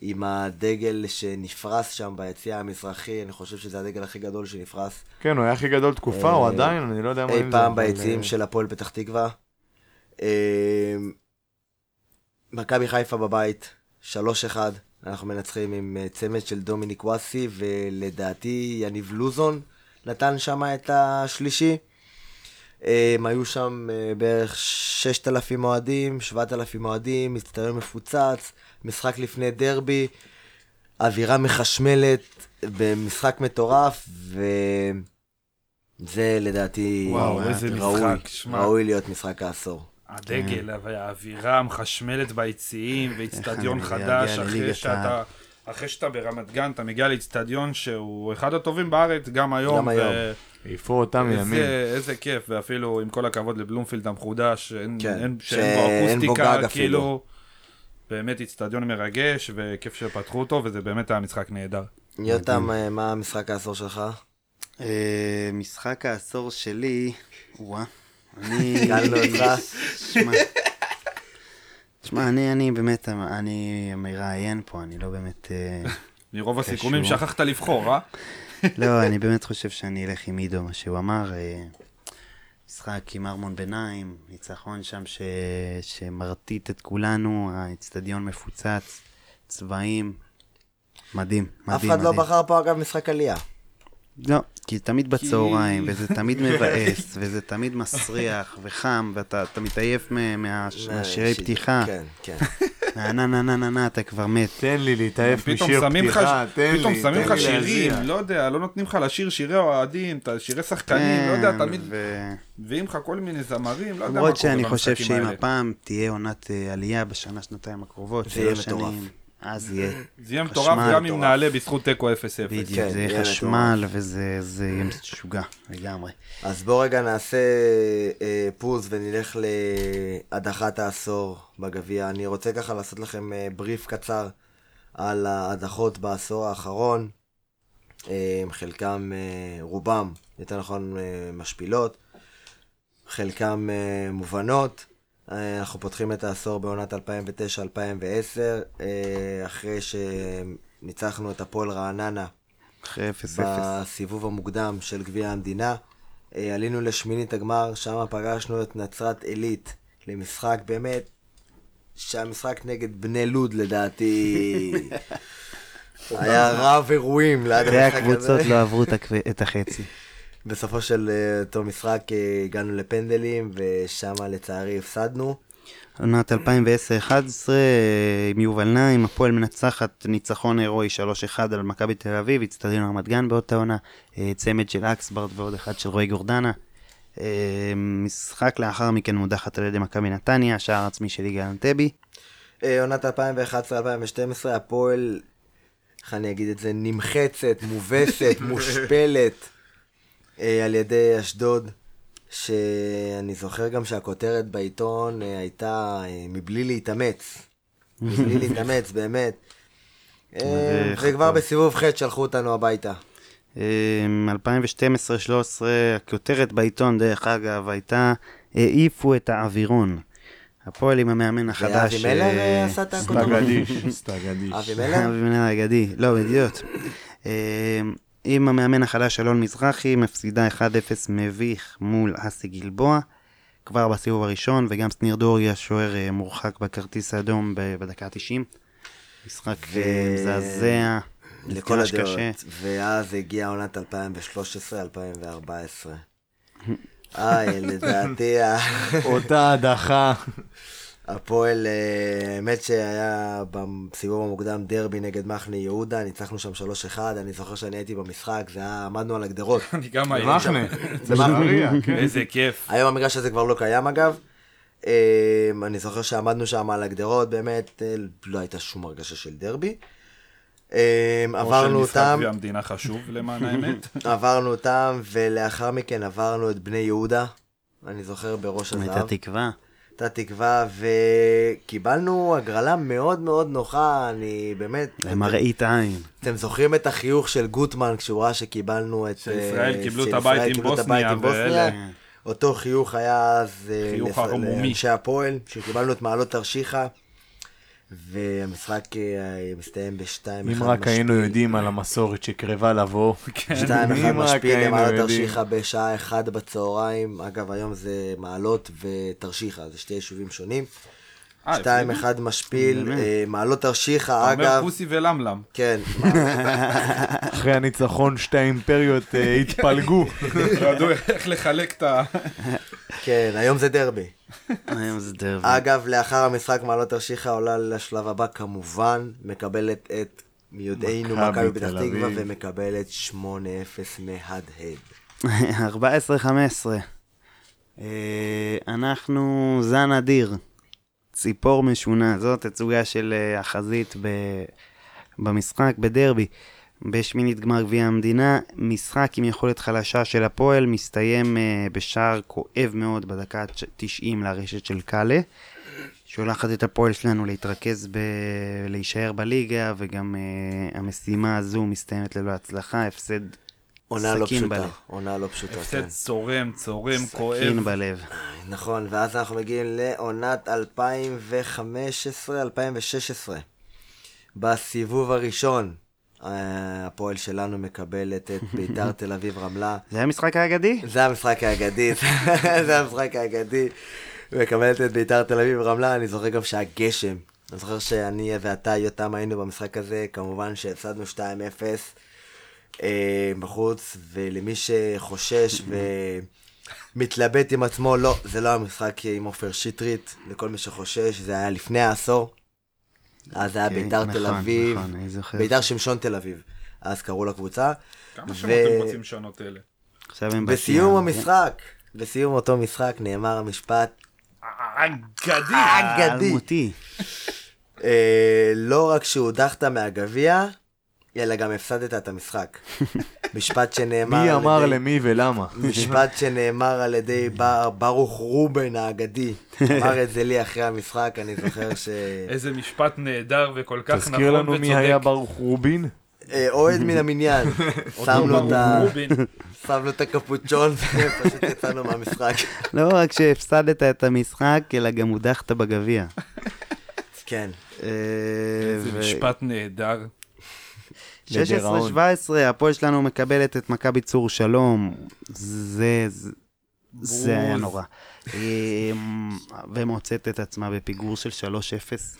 עם הדגל שנפרס שם ביציע המזרחי, אני חושב שזה הדגל הכי גדול שנפרס
כן, הוא היה הכי גדול תקופה, או עדיין, אני לא יודע מה
אה, אי
אם זה.
פעם
אבל,
ביציעים
אה,
של הפועל פתח תקווה. אה, מכבי חיפה בבית, 3-1, אנחנו מנצחים עם אה, צמד של דומיניק וואסי, ולדעתי יניב לוזון נתן שם את השלישי. אה, הם היו שם אה, בערך 6,000 אוהדים, 7,000 אוהדים, מצטיון מפוצץ, משחק לפני דרבי, אווירה מחשמלת במשחק מטורף, וזה לדעתי
וואו, איזה
ראוי,
משחק, שמע.
ראוי להיות משחק העשור.
הדגל והאווירה המחשמלת ביציעים, ואיצטדיון
איך אני
חדש,
מגיע
אחרי
לליגת
שאתה...
העל?
אחרי שאתה ברמת גן, אתה מגיע לאיצטדיון שהוא אחד הטובים בארץ, גם היום.
גם היום.
ו-
העיפו אותם מימין.
איזה, איזה כיף, ואפילו עם כל הכבוד לבלומפילד המחודש, אין,
כן,
אין,
שאין
שאין בו
בו גג
אקוסטיקה,
אפילו.
כאילו, באמת איצטדיון מרגש, וכיף שפתחו אותו, וזה באמת היה משחק נהדר.
יותם, אה, מה המשחק העשור שלך?
אה, משחק העשור שלי, וואה, אני...
קלנו אותך.
שמע, שמע, אני, אני באמת, אני מראיין פה, אני לא באמת... אה,
מרוב הסיכומים
קשור.
שכחת לבחור, אה?
לא, אני באמת חושב שאני אלך עם עידו, מה שהוא אמר. אה, משחק עם ארמון ביניים, ניצחון שם ש... שמרטיט את כולנו, האצטדיון מפוצץ, צבעים, מדהים, מדהים,
אף
מדהים.
אחד לא בחר פה אגב משחק עלייה.
לא, כי תמיד בצהריים, וזה תמיד מבאס, וזה תמיד מסריח, וחם, ואתה אתה מתעייף מ- מה- מהשירי
ש-
פתיחה.
אה, כן, כן.
נה נה נה נה נה נה, אתה כבר מת.
תן לי להתעייף
פתאום
משיר
שמים לך
פתיחה, תן לי,
פתאום שמים
תן
לך
לי
שירים,
להזיע.
לא יודע, לא נותנים לך לשיר שירי אוהדים, ת- שירי שחקנים, לא יודע, תמיד
כן, ו-
מביאים לך כל מיני זמרים, לא יודע מה קורה
אה, למרות שאני חושב
במשחקים
שאם
האלה.
הפעם תהיה עונת אה, עלייה בשנה, שנתיים הקרובות,
זה
שלוש
יהיה מטורף.
שנים, אז יהיה.
זה יהיה מטורף
חשמל,
גם אם
מטורף.
נעלה בזכות תיקו 0-0.
בדיוק, זה
כן, יהיה
יהיה חשמל וזה זה יהיה משוגע לגמרי.
אז בוא רגע נעשה אה, פוז ונלך להדחת העשור בגביע. אני רוצה ככה לעשות לכם אה, בריף קצר על ההדחות בעשור האחרון. אה, חלקם, אה, רובם, יותר נכון, אה, משפילות. חלקם אה, מובנות. אה, אנחנו פותחים את העשור בעונת 2009-2010, אה, אחרי שניצחנו את הפועל רעננה
אחרי אפס אפס.
בסיבוב המוקדם של גביע המדינה. אה, עלינו לשמינית הגמר, שם פגשנו את נצרת עילית למשחק באמת, שהמשחק נגד בני לוד לדעתי היה רב אירועים ליד
שתי
המשחק
הקבוצות
הזה.
לא עברו את הכב- את החצי.
בסופו של אה, אותו משחק אה, הגענו לפנדלים ושם לצערי הפסדנו.
עונת 2010-2011, אה, עם יובל נעים, הפועל מנצחת ניצחון הירואי 3-1 על מכבי תל אביב, הצטדיון רמת גן באותה עונה, אה, צמד של אקסברד ועוד אחד של רועי גורדנה. אה, משחק לאחר מכן מודחת על ידי מכבי נתניה, שער עצמי של יגאל אנטבי.
אה, עונת 2011-2012 הפועל, איך אני אגיד את זה, נמחצת, מובסת, מושפלת אה, על ידי אשדוד, שאני זוכר גם שהכותרת בעיתון אה, הייתה אה, מבלי להתאמץ, מבלי להתאמץ באמת. אה,
זה
וכבר
חטוב.
בסיבוב ח' שלחו אותנו הביתה.
אה, 2012-2013, הכותרת בעיתון, דרך אגב, הייתה, העיפו את האווירון. הפועל עם המאמן החדש.
ואבי מלר
אה,
אה, עשה את הכל.
סטגדיש, סטגדיש.
אבי מלר?
אבי מלר אגדי, לא, בדיוק. אה, עם המאמן החדש אלון מזרחי, מפסידה 1-0 מביך מול אסי גלבוע, כבר בסיבוב הראשון, וגם שניר דורי השוער אה, מורחק בכרטיס האדום ב- בדקה ה-90. משחק
ו-
אה, מזעזע,
לכל
מגרש קשה.
הדעות. ואז הגיעה עונת 2013-2014. איי, לדעתי ה-
אותה הדחה.
הפועל, אה, האמת שהיה בסיבוב המוקדם דרבי נגד מחנה יהודה, ניצחנו שם 3-1, אני זוכר שאני הייתי במשחק, זה היה, עמדנו על הגדרות.
אני גם הייתי.
מחנה.
זה מחנה.
נהריה, כן.
איזה כיף.
היום המגרש הזה כבר לא קיים אגב. אה, אני זוכר שעמדנו שם על הגדרות, באמת אה, לא הייתה שום הרגשה של דרבי. אה, עברנו
או של משחק
אותם,
גביע המדינה חשוב למען האמת.
עברנו אותם, ולאחר מכן עברנו את בני יהודה, אני זוכר בראש
הייתה
הזהב.
תקווה.
הייתה תקווה, וקיבלנו הגרלה מאוד מאוד נוחה, אני באמת...
למראית עין.
אתם זוכרים את החיוך של גוטמן כשהוא ראה שקיבלנו את...
שישראל
אה,
קיבלו את
שישראל
הבית עם
קיבלו את
בוסניה
הבית עם
ואלה.
בוסניה? אותו חיוך היה אז אה,
חיוך
לס-
ערמומי.
לאנשי הפועל, כשקיבלנו את מעלות תרשיחא, והמשחק אה, מסתיים בשתיים
אם
אחד
רק
משפיל.
היינו יודעים על המסורת שקרבה לבוא.
כן.
שתיים אחד
אם רק
משפיל
היינו
למעלות
יודעים.
תרשיחא בשעה אחת בצהריים, אגב היום זה מעלות ותרשיחא, זה שתי יישובים שונים.
אה,
שתיים אחד משפיל, אה, מעלות תרשיחא
אומר
אגב,
פוסי ולמלם.
כן,
אחרי הניצחון שתי האימפריות אה, התפלגו.
ידעו איך לחלק את ה...
כן, היום זה דרבי.
היום זה דרבי.
אגב, לאחר המשחק מעלות תרשיחא עולה לשלב הבא, כמובן, מקבלת את מיודענו
מכבי
מכבי פתח
תל
תקווה
אביב.
ומקבלת 8-0 מהדהד.
14-15. אה, אנחנו זן אדיר, ציפור משונה, זאת תצוגה של אה, החזית ב... במשחק, בדרבי. בשמינית גמר גביע המדינה, משחק עם יכולת חלשה של הפועל, מסתיים אה, בשער כואב מאוד בדקה ה-90 לרשת של קאלה, שולחת את הפועל שלנו להתרכז ב... להישאר בליגה, וגם אה, המשימה הזו מסתיימת ללא הצלחה, הפסד
עונה לא
סכין
פשוטה,
בלב.
עונה לא פשוטה, כן.
הפסד צורם, צורם, כואב.
סכין בלב.
נכון, ואז אנחנו מגיעים לעונת 2015-2016. בסיבוב הראשון, אה, הפועל שלנו מקבלת את ביתר תל אביב רמלה.
זה היה משחק האגדי?
זה המשחק האגדי, זה המשחק האגדי. מקבלת את ביתר תל אביב רמלה, אני זוכר גם שהיה גשם. אני זוכר שאני ואתה, יותם, היינו במשחק הזה, כמובן שהפסדנו 2-0 אה, בחוץ, ולמי שחושש ומתלבט עם עצמו, לא, זה לא המשחק עם עופר שטרית, לכל מי שחושש, זה היה לפני העשור. אז זה היה
אוקיי,
ביתר תל
נכון,
אביב,
נכון, אני זוכר.
ביתר שמשון תל אביב, אז קראו לקבוצה.
כמה שמות אתם
ו-
רוצים לשנות אלה?
עכשיו הם
בסיום
בת ים,
המשחק, בסיום אותו משחק נאמר המשפט
אגדי!
כן.
האגדי.
אלמותי.
אה, לא רק שהודחת מהגביע, אלא גם הפסדת את המשחק. משפט שנאמר...
מי
על
אמר
ידי-
למי ולמה?
משפט שנאמר על ידי בר- ברוך רובן האגדי. אמר את זה לי אחרי המשחק, אני זוכר ש...
איזה משפט נהדר וכל כך נכון וצודק.
תזכיר לנו מי היה ברוך רובין?
אה, אוהד מן המניין, שם לו את ה-
ברוך רובין.
שם לו את הקפוצ'ון, ופשוט יצאנו מהמשחק.
לא רק שהפסדת את המשחק, אלא גם הודחת בגביע.
כן.
אה,
איזה
ו-
משפט נהדר.
16-17,
לדיראון.
הפועל שלנו מקבלת את מכבי צור שלום. זה... זה- זה היה
בוז.
נורא. אה, ומוצאת את עצמה בפיגור של 3-0.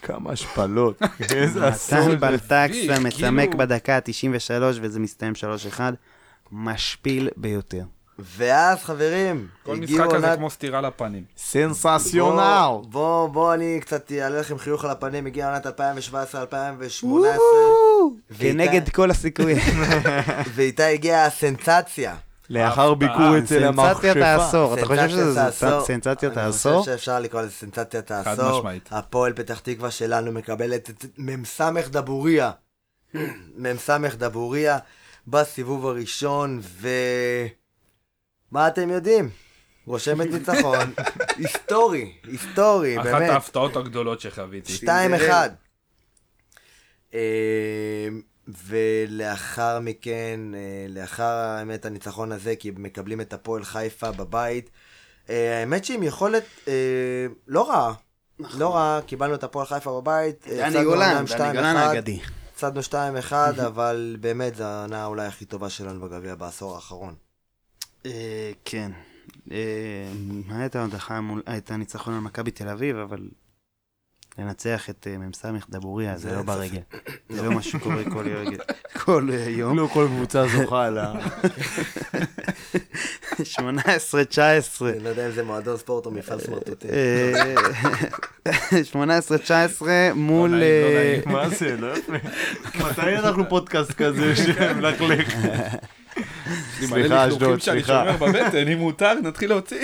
כמה השפלות. איזה אסון.
נתן בלטקסה
מביך,
מצמק
כאילו.
בדקה ה-93 וזה מסתיים 3-1. משפיל ביותר.
ואז חברים,
כל
הגיעו
משחק הזה
עונת
כמו סטירה לפנים.
סנסציונל.
בוא, בוא, בוא אני קצת אעלה לכם חיוך על הפנים, הגיעה עונת 2017-2018,
כנגד כל הסיכויים.
ואיתה הגיעה הסנסציה.
לאחר ביקור
הפתעה.
אצל
סנסציית
המכשפה.
העשור. אתה חושב שזה
סנסציית העשור.
סנסציית
אני
העשור?
חושב שאפשר לקרוא לזה סנסציית העשור.
משמעית.
הפועל פתח תקווה שלנו מקבלת את מ"ס דבוריה. מ"ס דבוריה בסיבוב הראשון, ו... מה אתם יודעים? רושמת ניצחון היסטורי, היסטורי,
אחת
אה, באמת.
ההפתעות הגדולות שחוויתי.
2-1. אמ, ולאחר מכן, אה, לאחר האמת הניצחון הזה, כי מקבלים את הפועל חיפה בבית, אה, האמת שהיא עם יכולת אה, לא רעה. לא רע, קיבלנו את הפועל חיפה בבית.
נכון. דני
הפסדנו
גולן,
אומנם
דני
2-1,
גולן האגדי.
הפסדנו 2-1, אבל באמת זו העונה אולי הכי טובה שלנו בגביע בעשור האחרון.
אה, כן. אה, מה הייתה עוד אחת מול... אה, הייתה ניצחון על מכבי תל אביב, אבל לנצח את אה, מ"ס דבוריה זה
זה
לא
אין
ברגל. זה לא מה שקורה כל יום- כל אה, יום.
לא כל קבוצה זוכה ל...
18, 19.
אני לא יודע אם זה מועדון ספורט או מפעל
אה,
סמרטוטים.
18-19 מול...
לא נעים, לא
אה,
נעים. מה זה, לא יפה. מתי אנחנו פודקאסט כזה שמלכלך? סליחה, אשדוד,
שאני
סליחה.
שומר בבטן, אם מותר, נתחיל להוציא.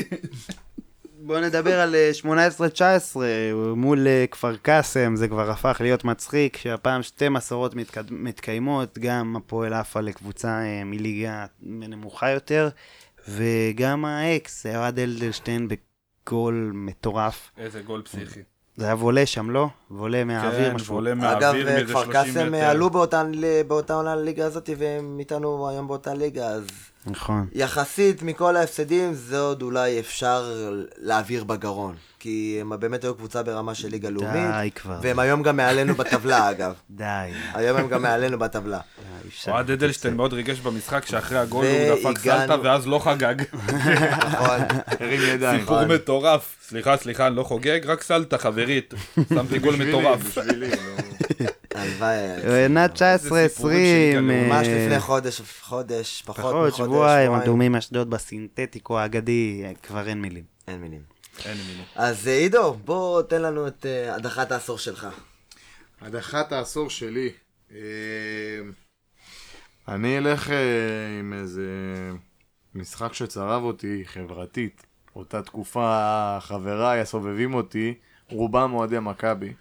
בואו נדבר על אה, 18-19 מול אה, כפר קאסם, זה כבר הפך להיות מצחיק, שהפעם שתי מסורות מתקד... מתקיימות, גם הפועל עפה לקבוצה אה, מליגה נמוכה יותר, וגם האקס, אוהד אלדלשטיין בגול מטורף.
איזה גול פסיכי.
זה היה וולה שם, לא? וולה מהאוויר,
כן,
משהו.
ועולה
אגב, אה,
מהאוויר מאיזה 30 מטר.
כפר קאסם עלו באותה- באותה עונה לליגה הזאת, והם איתנו היום באותה ליגה, אז
נכון.
יחסית מכל ההפסדים, זה עוד אולי אפשר להעביר בגרון. כי הם באמת היו קבוצה ברמה של ליגה
די
לאומית,
כבר,
והם היום גם מעלינו בטבלה, אגב.
די.
היום הם גם מעלינו בטבלה.
די, אפשר.
אוהד אדלשטיין מאוד ריגש במשחק שאחרי הגול הוא
והגענו-
דפק סלטה ואז לא חגג.
נכון.
הרים ידיים. אה,
סיפור מטורף. סליחה, סליחה, אני לא חוגג, רק סלטה, חברית. שמתי גול מטורף.
בשבילי, לא.
הלוואי. היה לי.
עונה 19-20.
זה סיפורים של גלום.
ממש
אה,
לפני חודש, חודש, פחות
פחות,
מחודש,
שבועיים, אדומים אשדוד בסינתטיקו האגדי, אה, כבר אין מילים.
אין מילים.
אין לי מילים.
אז אה, עידו, בוא תן לנו את אה, הדחת העשור שלך.
הדחת העשור שלי. אה, אני אלך אה, עם איזה משחק שצרב אותי חברתית. אותה תקופה חבריי הסובבים אותי, רובם אוהדי מכבי.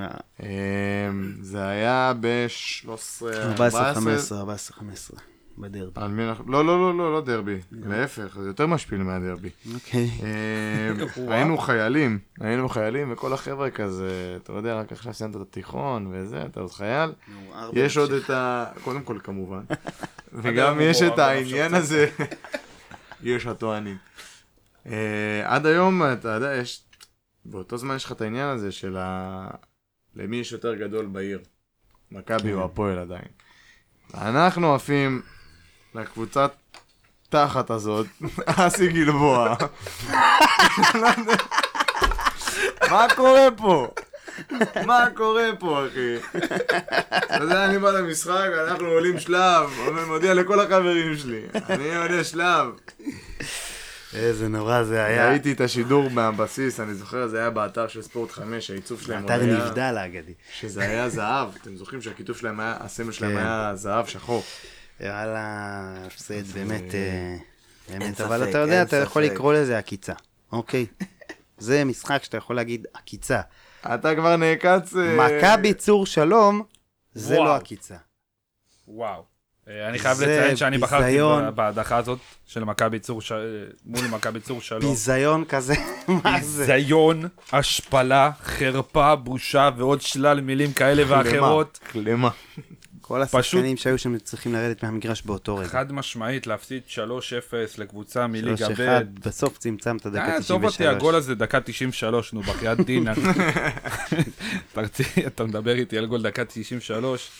אה,
אה, זה היה ב-13...
14-15, 14-15, בדרבי.
לא, לא, לא, לא, לא דרבי. להפך, זה יותר משפיל מהדרבי.
אוקיי.
אה, היינו חיילים, היינו חיילים, וכל החבר'ה כזה, אתה יודע, רק עכשיו סיימת את התיכון וזה, אתה עוד חייל. יש עוד את ה... קודם כל, כמובן. וגם
היום הוא
יש את
מעורב
העניין הזה, יש הטוענים. אה, עד היום, אתה יודע, יש... באותו זמן יש לך את העניין הזה של ה... למי יש יותר גדול בעיר, מכבי או הפועל עדיין. אנחנו עפים לקבוצת תחת הזאת, אסי גלבוע. מה קורה פה? מה קורה פה, אחי? אתה יודע, אני בא למשחק, אנחנו עולים שלב, אומר, מודיע לכל החברים שלי, אני עולה שלב.
איזה נורא זה היה.
ראיתי את השידור מהבסיס, אני זוכר, זה היה באתר של ספורט 5, שהעיצוב שלהם
אתר
היה-
נבדל האגדי.
שזה היה זהב, אתם זוכרים שהכיתוב שלהם היה, הסמל שלהם
כן.
היה זהב שחור.
וואלה, הפסד באמת, אה, באמת,
ספק,
אבל אתה יודע,
אין
אתה יכול
ספק.
לקרוא לזה עקיצה, אוקיי? זה משחק שאתה יכול להגיד עקיצה.
אתה כבר נעקץ... אה,
מכבי צור שלום, זה
וואו.
לא עקיצה.
וואו. אה, אני חייב
זה
לציין שאני בחרתי
ביזיון.
ב- בהדחה הזאת של מכבי צור, ש- אה, מול מכבי צור שלום.
ביזיון כזה, מה זה?
ביזיון, השפלה, חרפה, בושה ועוד שלל מילים כאלה ואחרות.
כלמה.
כל
פשוט-
השחקנים שהיו שם צריכים לרדת מהמגרש באותו רגע.
חד משמעית להפסיד 3-0 לקבוצה מליגה
3-1,
ב'.
בסוף צמצמת דקה 93.
אה, עזוב אותי, הגול הזה דקה 93, נו, בחייאת דינה. אתה רצי- אתה מדבר איתי על גול דקה 93,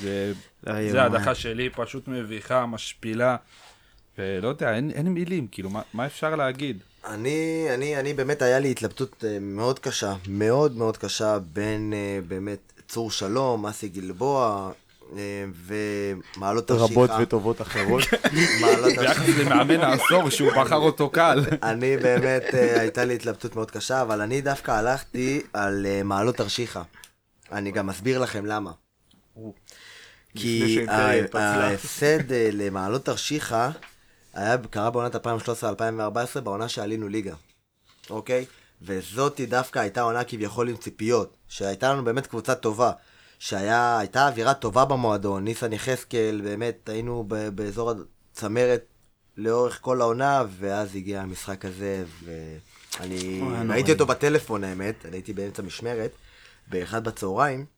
זה-
לא
זה
יאומן.
ההדחה שלי, פשוט מביכה, משפילה. ולא יודע, אין אין מילים, כאילו, מה- מה אפשר להגיד?
אני, אני, אני באמת, היה לי התלבטות אה, מאוד קשה, מאוד מאוד קשה, בין אה, באמת צור שלום, אסי גלבוע, אה, ומעלות תרשיחא.
רבות וטובות אחרות.
מעלות תרשיחא.
ביחס למאמן העשור שהוא בחר אותו קל.
אני באמת, אה, הייתה לי התלבטות מאוד קשה, אבל אני דווקא הלכתי על אה, מעלות תרשיחא. אני גם אסביר לכם למה. כי
שהאימפריה
ה-
התפצלה.
ההפסד אה, למעלות תרשיחא היה, קרה בעונת 2013-2014, בעונה שעלינו ליגה, אוקיי? וזאתי דווקא הייתה עונה כביכול עם ציפיות, שהייתה לנו באמת קבוצה טובה, שהייתה אווירה טובה במועדון, ניסן יחזקאל, באמת היינו ב- באזור הצמרת לאורך כל העונה, ואז הגיע המשחק הזה, ואני
אוי, נוראי.
ראיתי אותו בטלפון האמת, אני הייתי באמצע משמרת, באחד בצהריים.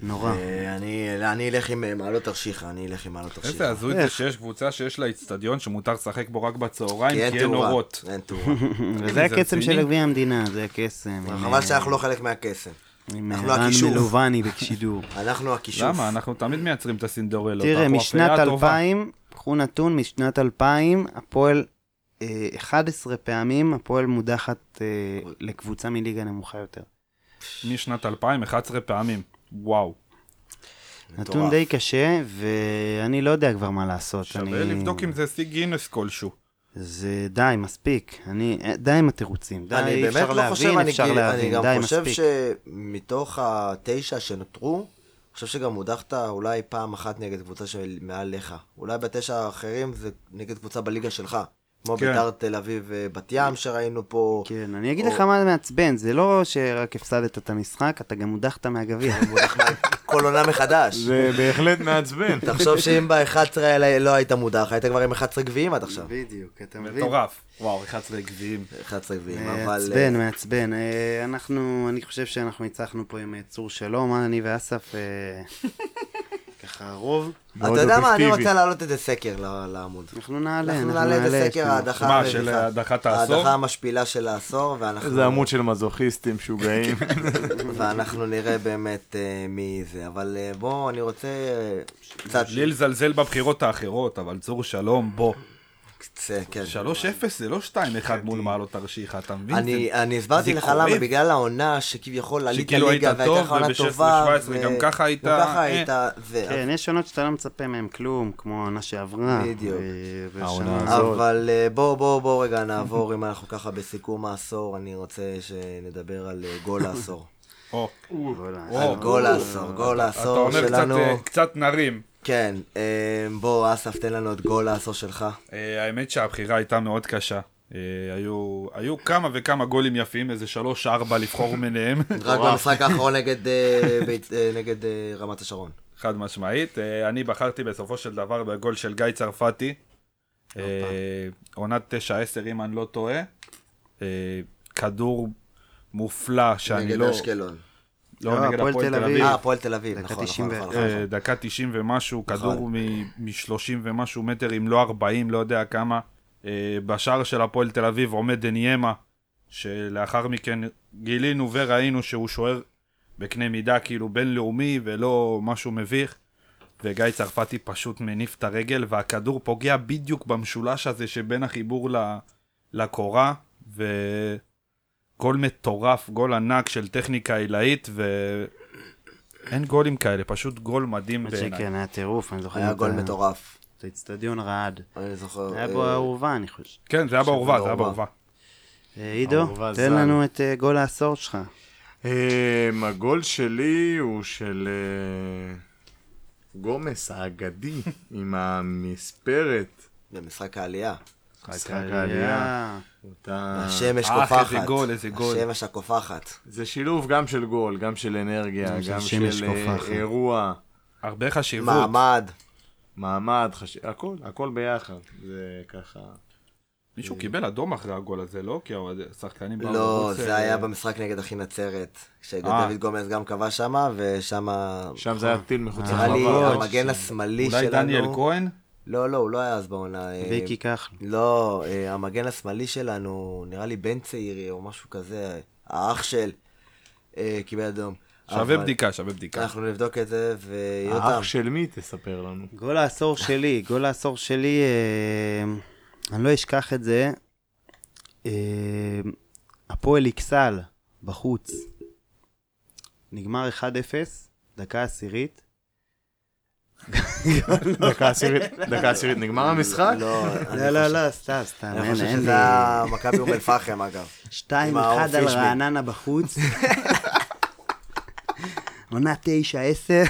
נורא.
אה.
אני, לא, אני אלך עם אה, מעלות תרשיחא, אני אלך עם מעלות
איזה
תרשיחא.
הזוי זה שיש קבוצה שיש לה איצטדיון שמותר לשחק בו רק בצהריים,
כי
כי אין
תאורה.
אורות.
אין תאורה.
אוקיי,
וזה הקסם
רציני?
של גביע המדינה, זה הקסם. אה,
חבל שאנחנו לא חלק מהקסם.
עם אה,
אנחנו
רן
הכישוף.
מלובני בשידור.
לא,
אנחנו הכישוף.
למה? אנחנו תמיד מייצרים את הסינדורלות.
תראה,
אנחנו
משנת
אפליה טובה.
2000, קחו נתון, משנת 2000, הפועל, אה, 11 פעמים הפועל מודחת אה, לקבוצה מליגה נמוכה יותר.
משנת 2000, 11 פעמים. וואו.
נתון די קשה, ואני לא יודע כבר מה לעשות.
שווה
אני-
לבדוק אם זה שיא גינס כלשהו.
זה די, מספיק. אני, אה, די עם התירוצים. די,
אני
אי
באמת
אפשר
לא חושב,
להבין,
אני
אפשר
גיל- אני
להבין.
גם
די,
חושב
מספיק.
שמתוך התשע שנותרו, אני חושב שגם הודחת אולי פעם אחת נגד קבוצה של מעל לך. אולי בתשע האחרים זה נגד קבוצה בליגה שלך. כמו
כן.
ביתר תל אביב ובת ים שראינו פה.
כן, אני אגיד
או-
לך מה מעצבן, זה לא שרק הפסדת את המשחק, אתה גם הודחת מהגביע.
מודח מה- כל עונה מחדש.
זה בהחלט מעצבן.
תחשוב שאם ב-11 האלה לא היית מודח, היית כבר עם 11 גביעים עד עכשיו.
בדיוק, אתה מבין? אה,
מטורף. וואו, 11 גביעים.
11 גביעים, אבל... אה,
מעצבן, מעצבן. אה, אנחנו, אני חושב שאנחנו ניצחנו פה עם אה, צור שלום, אה, אני ואסף, אה, ככה הרוב.
אה,
מאוד
אתה יודע מה, אני
אובייקטיבי.
רוצה להעלות איזה סקר ל- לעמוד.
אנחנו נעלה,
אנחנו נעלה כאילו. את הסקר
כן.
ההדחה
מה,
המביכה.
של אה, הדחת העשור?
ההדחה המשפילה של העשור, ואנחנו...
זה עמוד של מזוכיסטים משוגעים.
כן,
ואנחנו נראה באמת אה, מי זה. אבל אה, בוא, אני רוצה אה, קצת...
בלי לזלזל בבחירות האחרות, אבל צור שלום, בוא.
קצה, כן.
3-0 זה לא 2-1 מול מעלות תרשיחא, אתה מבין?
אני,
זה-
אני הסברתי
זה
לך
קורה.
למה, בגלל העונה שכביכול עלית
שכאילו
ליגה
היית
והייתה
טוב,
לך עונה
וב-16,
טובה.
17 גם ככה היית-
גם ככה
אה.
היית... זה,
כן, יש עונות שאתה לא מצפה מהן כלום, כמו העונה שעברה.
בדיוק.
ו- ושנה
העונה
הזאת.
הזאת.
אבל אה, בוא, בוא, בוא רגע נעבור, אם אנחנו ככה בסיכום העשור, אני רוצה שנדבר על אה, גול העשור.
או,
וואלה.
או,
על גול העשור, גול
אתה
העשור
אומר קצת,
שלנו.
אה, קצת נרים.
כן, אה, בוא, אסף, תן לנו את גול העשור שלך.
אה, האמת שהבחירה הייתה מאוד קשה. אה, היו, היו כמה וכמה גולים יפים, איזה שלוש ארבע לבחור ביניהם,
רק במשחק האחרון נגד, אה, בית- אה, נגד אה, רמת השרון.
חד משמעית. אה, אני בחרתי בסופו של דבר בגול של גיא צרפתי, אה,
לא
עונת 9-10 אם אני לא טועה. אה, כדור מופלא שאני
נגד
לא...
אשקלון.
לא,
לא,
נגד
הפועל
הפועל
תל
תל
אביב.
אביב.
אה, הפועל תל אביב,
דקה
נכון, נכון,
91.
נכון. נכון.
אה, דקה 90 ומשהו,
נכון.
כדור מ-30 ומשהו מטר, אם לא 40, לא יודע כמה. אה, בשער של הפועל תל אביב עומד דניימה, שלאחר מכן גילינו וראינו שהוא שוער בקנה מידה כאילו בינלאומי ולא משהו מביך. וגיא צרפתי פשוט מניף את הרגל, והכדור פוגע בדיוק במשולש הזה שבין החיבור ל- לקורה, וגול מטורף, גול ענק של טכניקה עילאית, ואין גולים כאלה, פשוט גול מדהים
האמת
בעיניי.
שכן, היה טירוף, אני זוכר.
היה
את
גול
ה-
מטורף.
את האצטדיון רעד.
אני זוכר.
אה, היה
אה,
בו אהובה, אני חושב.
כן, זה היה בעורבה, זה היה
בעורבה.
בעורבה.
אה, עידו,
אהובה
תן
ז"ל.
לנו את אה, גול העשור שלך.
אמ, הגול שלי הוא של אה, גומס האגדי עם המספרת.
במשחק העלייה.
אה,
משחק העלייה. אותה-
השמש
אה,
קופחת.
איזה גול, איזה גול.
השמש הקופחת.
זה שילוב גם של גול, גם של אנרגיה,
של
גם
שמש
של אה,
קופחת.
אירוע,
הרבה חשיבות.
מעמד.
מעמד, חש- הכל, הכל ביחד. זה ככה.
מישהו קיבל אדום אחרי הגול הזה, לא? כי האוהד- השחקנים באו
לא,
בחוץ,
זה
אה,
היה במשחק נגד אחי נצרת.
אה.
שדוד גומז גם כבש שמה, ושמה...
שם זה היה טיל מחוץ
נראה לי
לחווה.
המגן השמאלי שלנו.
אה, אולי דניאל כהן?
לא, לא, הוא לא היה אז בעונה. אה,
ויקי כחלון.
לא, אה, המגן השמאלי שלנו, נראה לי בן צעירי או משהו כזה, האח של, אה, קיבל אדום.
שווה
אבל
בדיקה, שווה בדיקה.
אנחנו נבדוק את זה, ויותם,
האח של מי? תספר לנו.
גול העשור שלי, גול העשור שלי, אה, אני לא אשכח את זה. אה, הפועל אכסל, בחוץ. נגמר 1-0, דקה עשירית.
דקה עשירית, דקה עשירית, נגמר המשחק?
לא, אני
לא, לא,
חושב-
לא, סתם, סתם,
אני
אין,
חושב
אין
שזה
לי.
היה מכבי אום אל-פחם, אגב.
2-1
עם האור
על
פישמן.
רעננה בחוץ. עונה 9-10.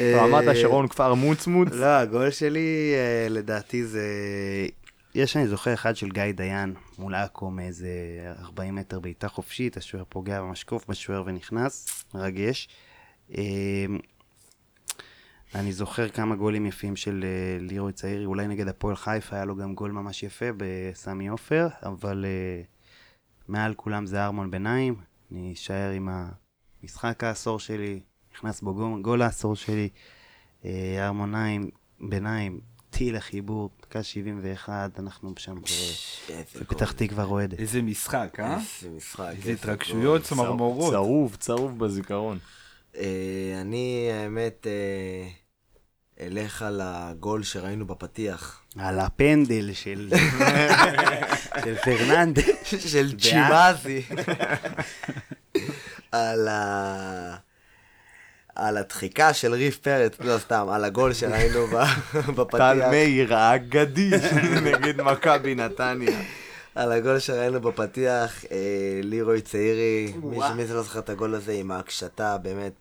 רמת
אה,
השרון כפר מוצמוץ.
לא, הגול שלי, אה, לדעתי זה... יש, אני זוכר, אחד של גיא דיין מול עכו מאיזה 40 מטר בעיטה חופשית, השוער פוגע במשקוף בשוער ונכנס, מרגש. אה, אני זוכר כמה גולים יפים של אה, לירוי צעירי, אולי נגד הפועל חיפה היה לו גם גול ממש יפה בסמי עופר, אבל אה, מעל כולם זה ארמון ביניים, אני אשאר עם משחק העשור שלי, נכנס בו גול, גול העשור שלי, אה, ארמוניים, ביניים, טיל לחיבור, דקה 71, אנחנו שם ב-
איזה גול.
בפתח תקווה רועדת.
איזה משחק, אה?
איזה משחק.
איזה
איזה
התרגשויות,
גול.
צמרמורות.
צרוב, צרוב בזיכרון.
אה, אני, האמת, אה, אלך על הגול שראינו בפתיח.
על הפנדל של של פרננדס.
של צ'ימאזי. על ה... על הדחיקה של ריף פרץ, לא סתם, על הגול שראינו ב-
טל
בפתיח.
מאיר האגדי נגד מכבי נתניה.
על הגול שראינו בפתיח, אה, לירוי צעירי, מי ש- מי שלא זוכר את הגול הזה עם ההקשתה, באמת.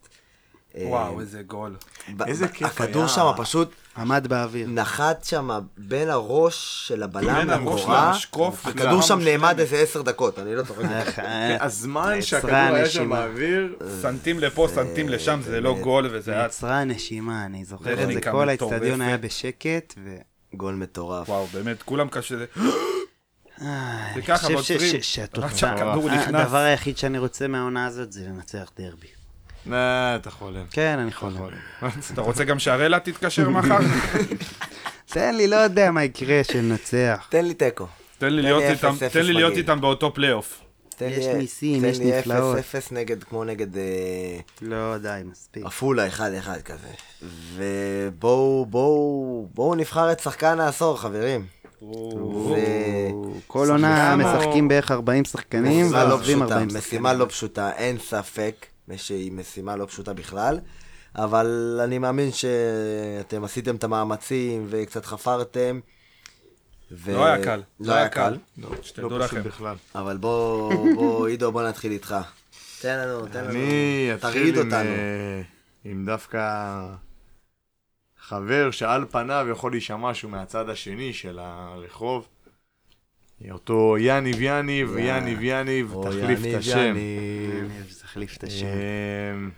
אה,
וואו, איזה גול.
ב-
איזה
ב-
כיף
הכדור
היה.
שם פשוט
עמד באוויר.
נחת שם בין הראש של הבלם
בין הראש
לקורה.
למשקוף,
הכדור שם
בצורה
נעמד איזה עשר דקות, אני לא צוחק.
נכון. הזמן שהכדור
נעצרה
היה שם
הנשימה.
באוויר,
סנטים
אה,
לפה, סנטים לשם, זה לא גול וזה היה...
נעצרה הנשימה, אני זוכר את זה.
טכניקה
כל
מטורפת.
האצטדיון היה בשקט, ו...
גול מטורף.
וואו, באמת, כולם קשה... זה-
אה,
זה
אני
ככה,
חושב ש-
בעוצרים.
ש-
רק שהכדור
שהתוצאה...
נכנס.
הדבר היחיד שאני רוצה מהעונה הזאת זה לנצח דרבי.
אה, אתה חולם.
כן, אני חולם.
אתה רוצה גם שהראלה תתקשר מחר?
תן לי, לא יודע מה יקרה, שננצח.
תן לי תיקו.
תן לי
לי
להיות
אפס,
איתם-
אפס
תן לי להיות
מגעיל.
איתם באותו פלייאוף.
תן
יש
לי-
ניסים, יש
תן לי
נפלאות.
0-0 נגד, כמו נגד אה,
לא, די, מספיק.
עפולה 1-1 כזה. ובואו, בואו, בואו נבחר את שחקן העשור, חברים. זה
כל עונה
שחקן או-
משחקים בערך 40 שחקנים,
משימה לא
ועוזבים
פשוטה,
40 שחקנים.
משימה לא פשוטה, אין ספק שהיא משימה לא פשוטה בכלל, אבל אני מאמין שאתם עשיתם את המאמצים וקצת חפרתם. ו-
לא היה קל.
לא היה קל.
שתדעו
לא פשוט
לכם.
בכלל.
אבל בוא, בוא, עידו, בוא נתחיל איתך. תן לנו, תן לנו.
אני
תרעיד
אתחיל עם,
אה, אותנו.
אה, עם דווקא חבר שעל פניו יכול להישמע שהוא מהצד השני של הרחוב. אותו יניב יניב,
יא.
יניב יניב,
אה, או
תחליף את
יניב,
השם.
יניב.
אני תחליף את השם.
אה,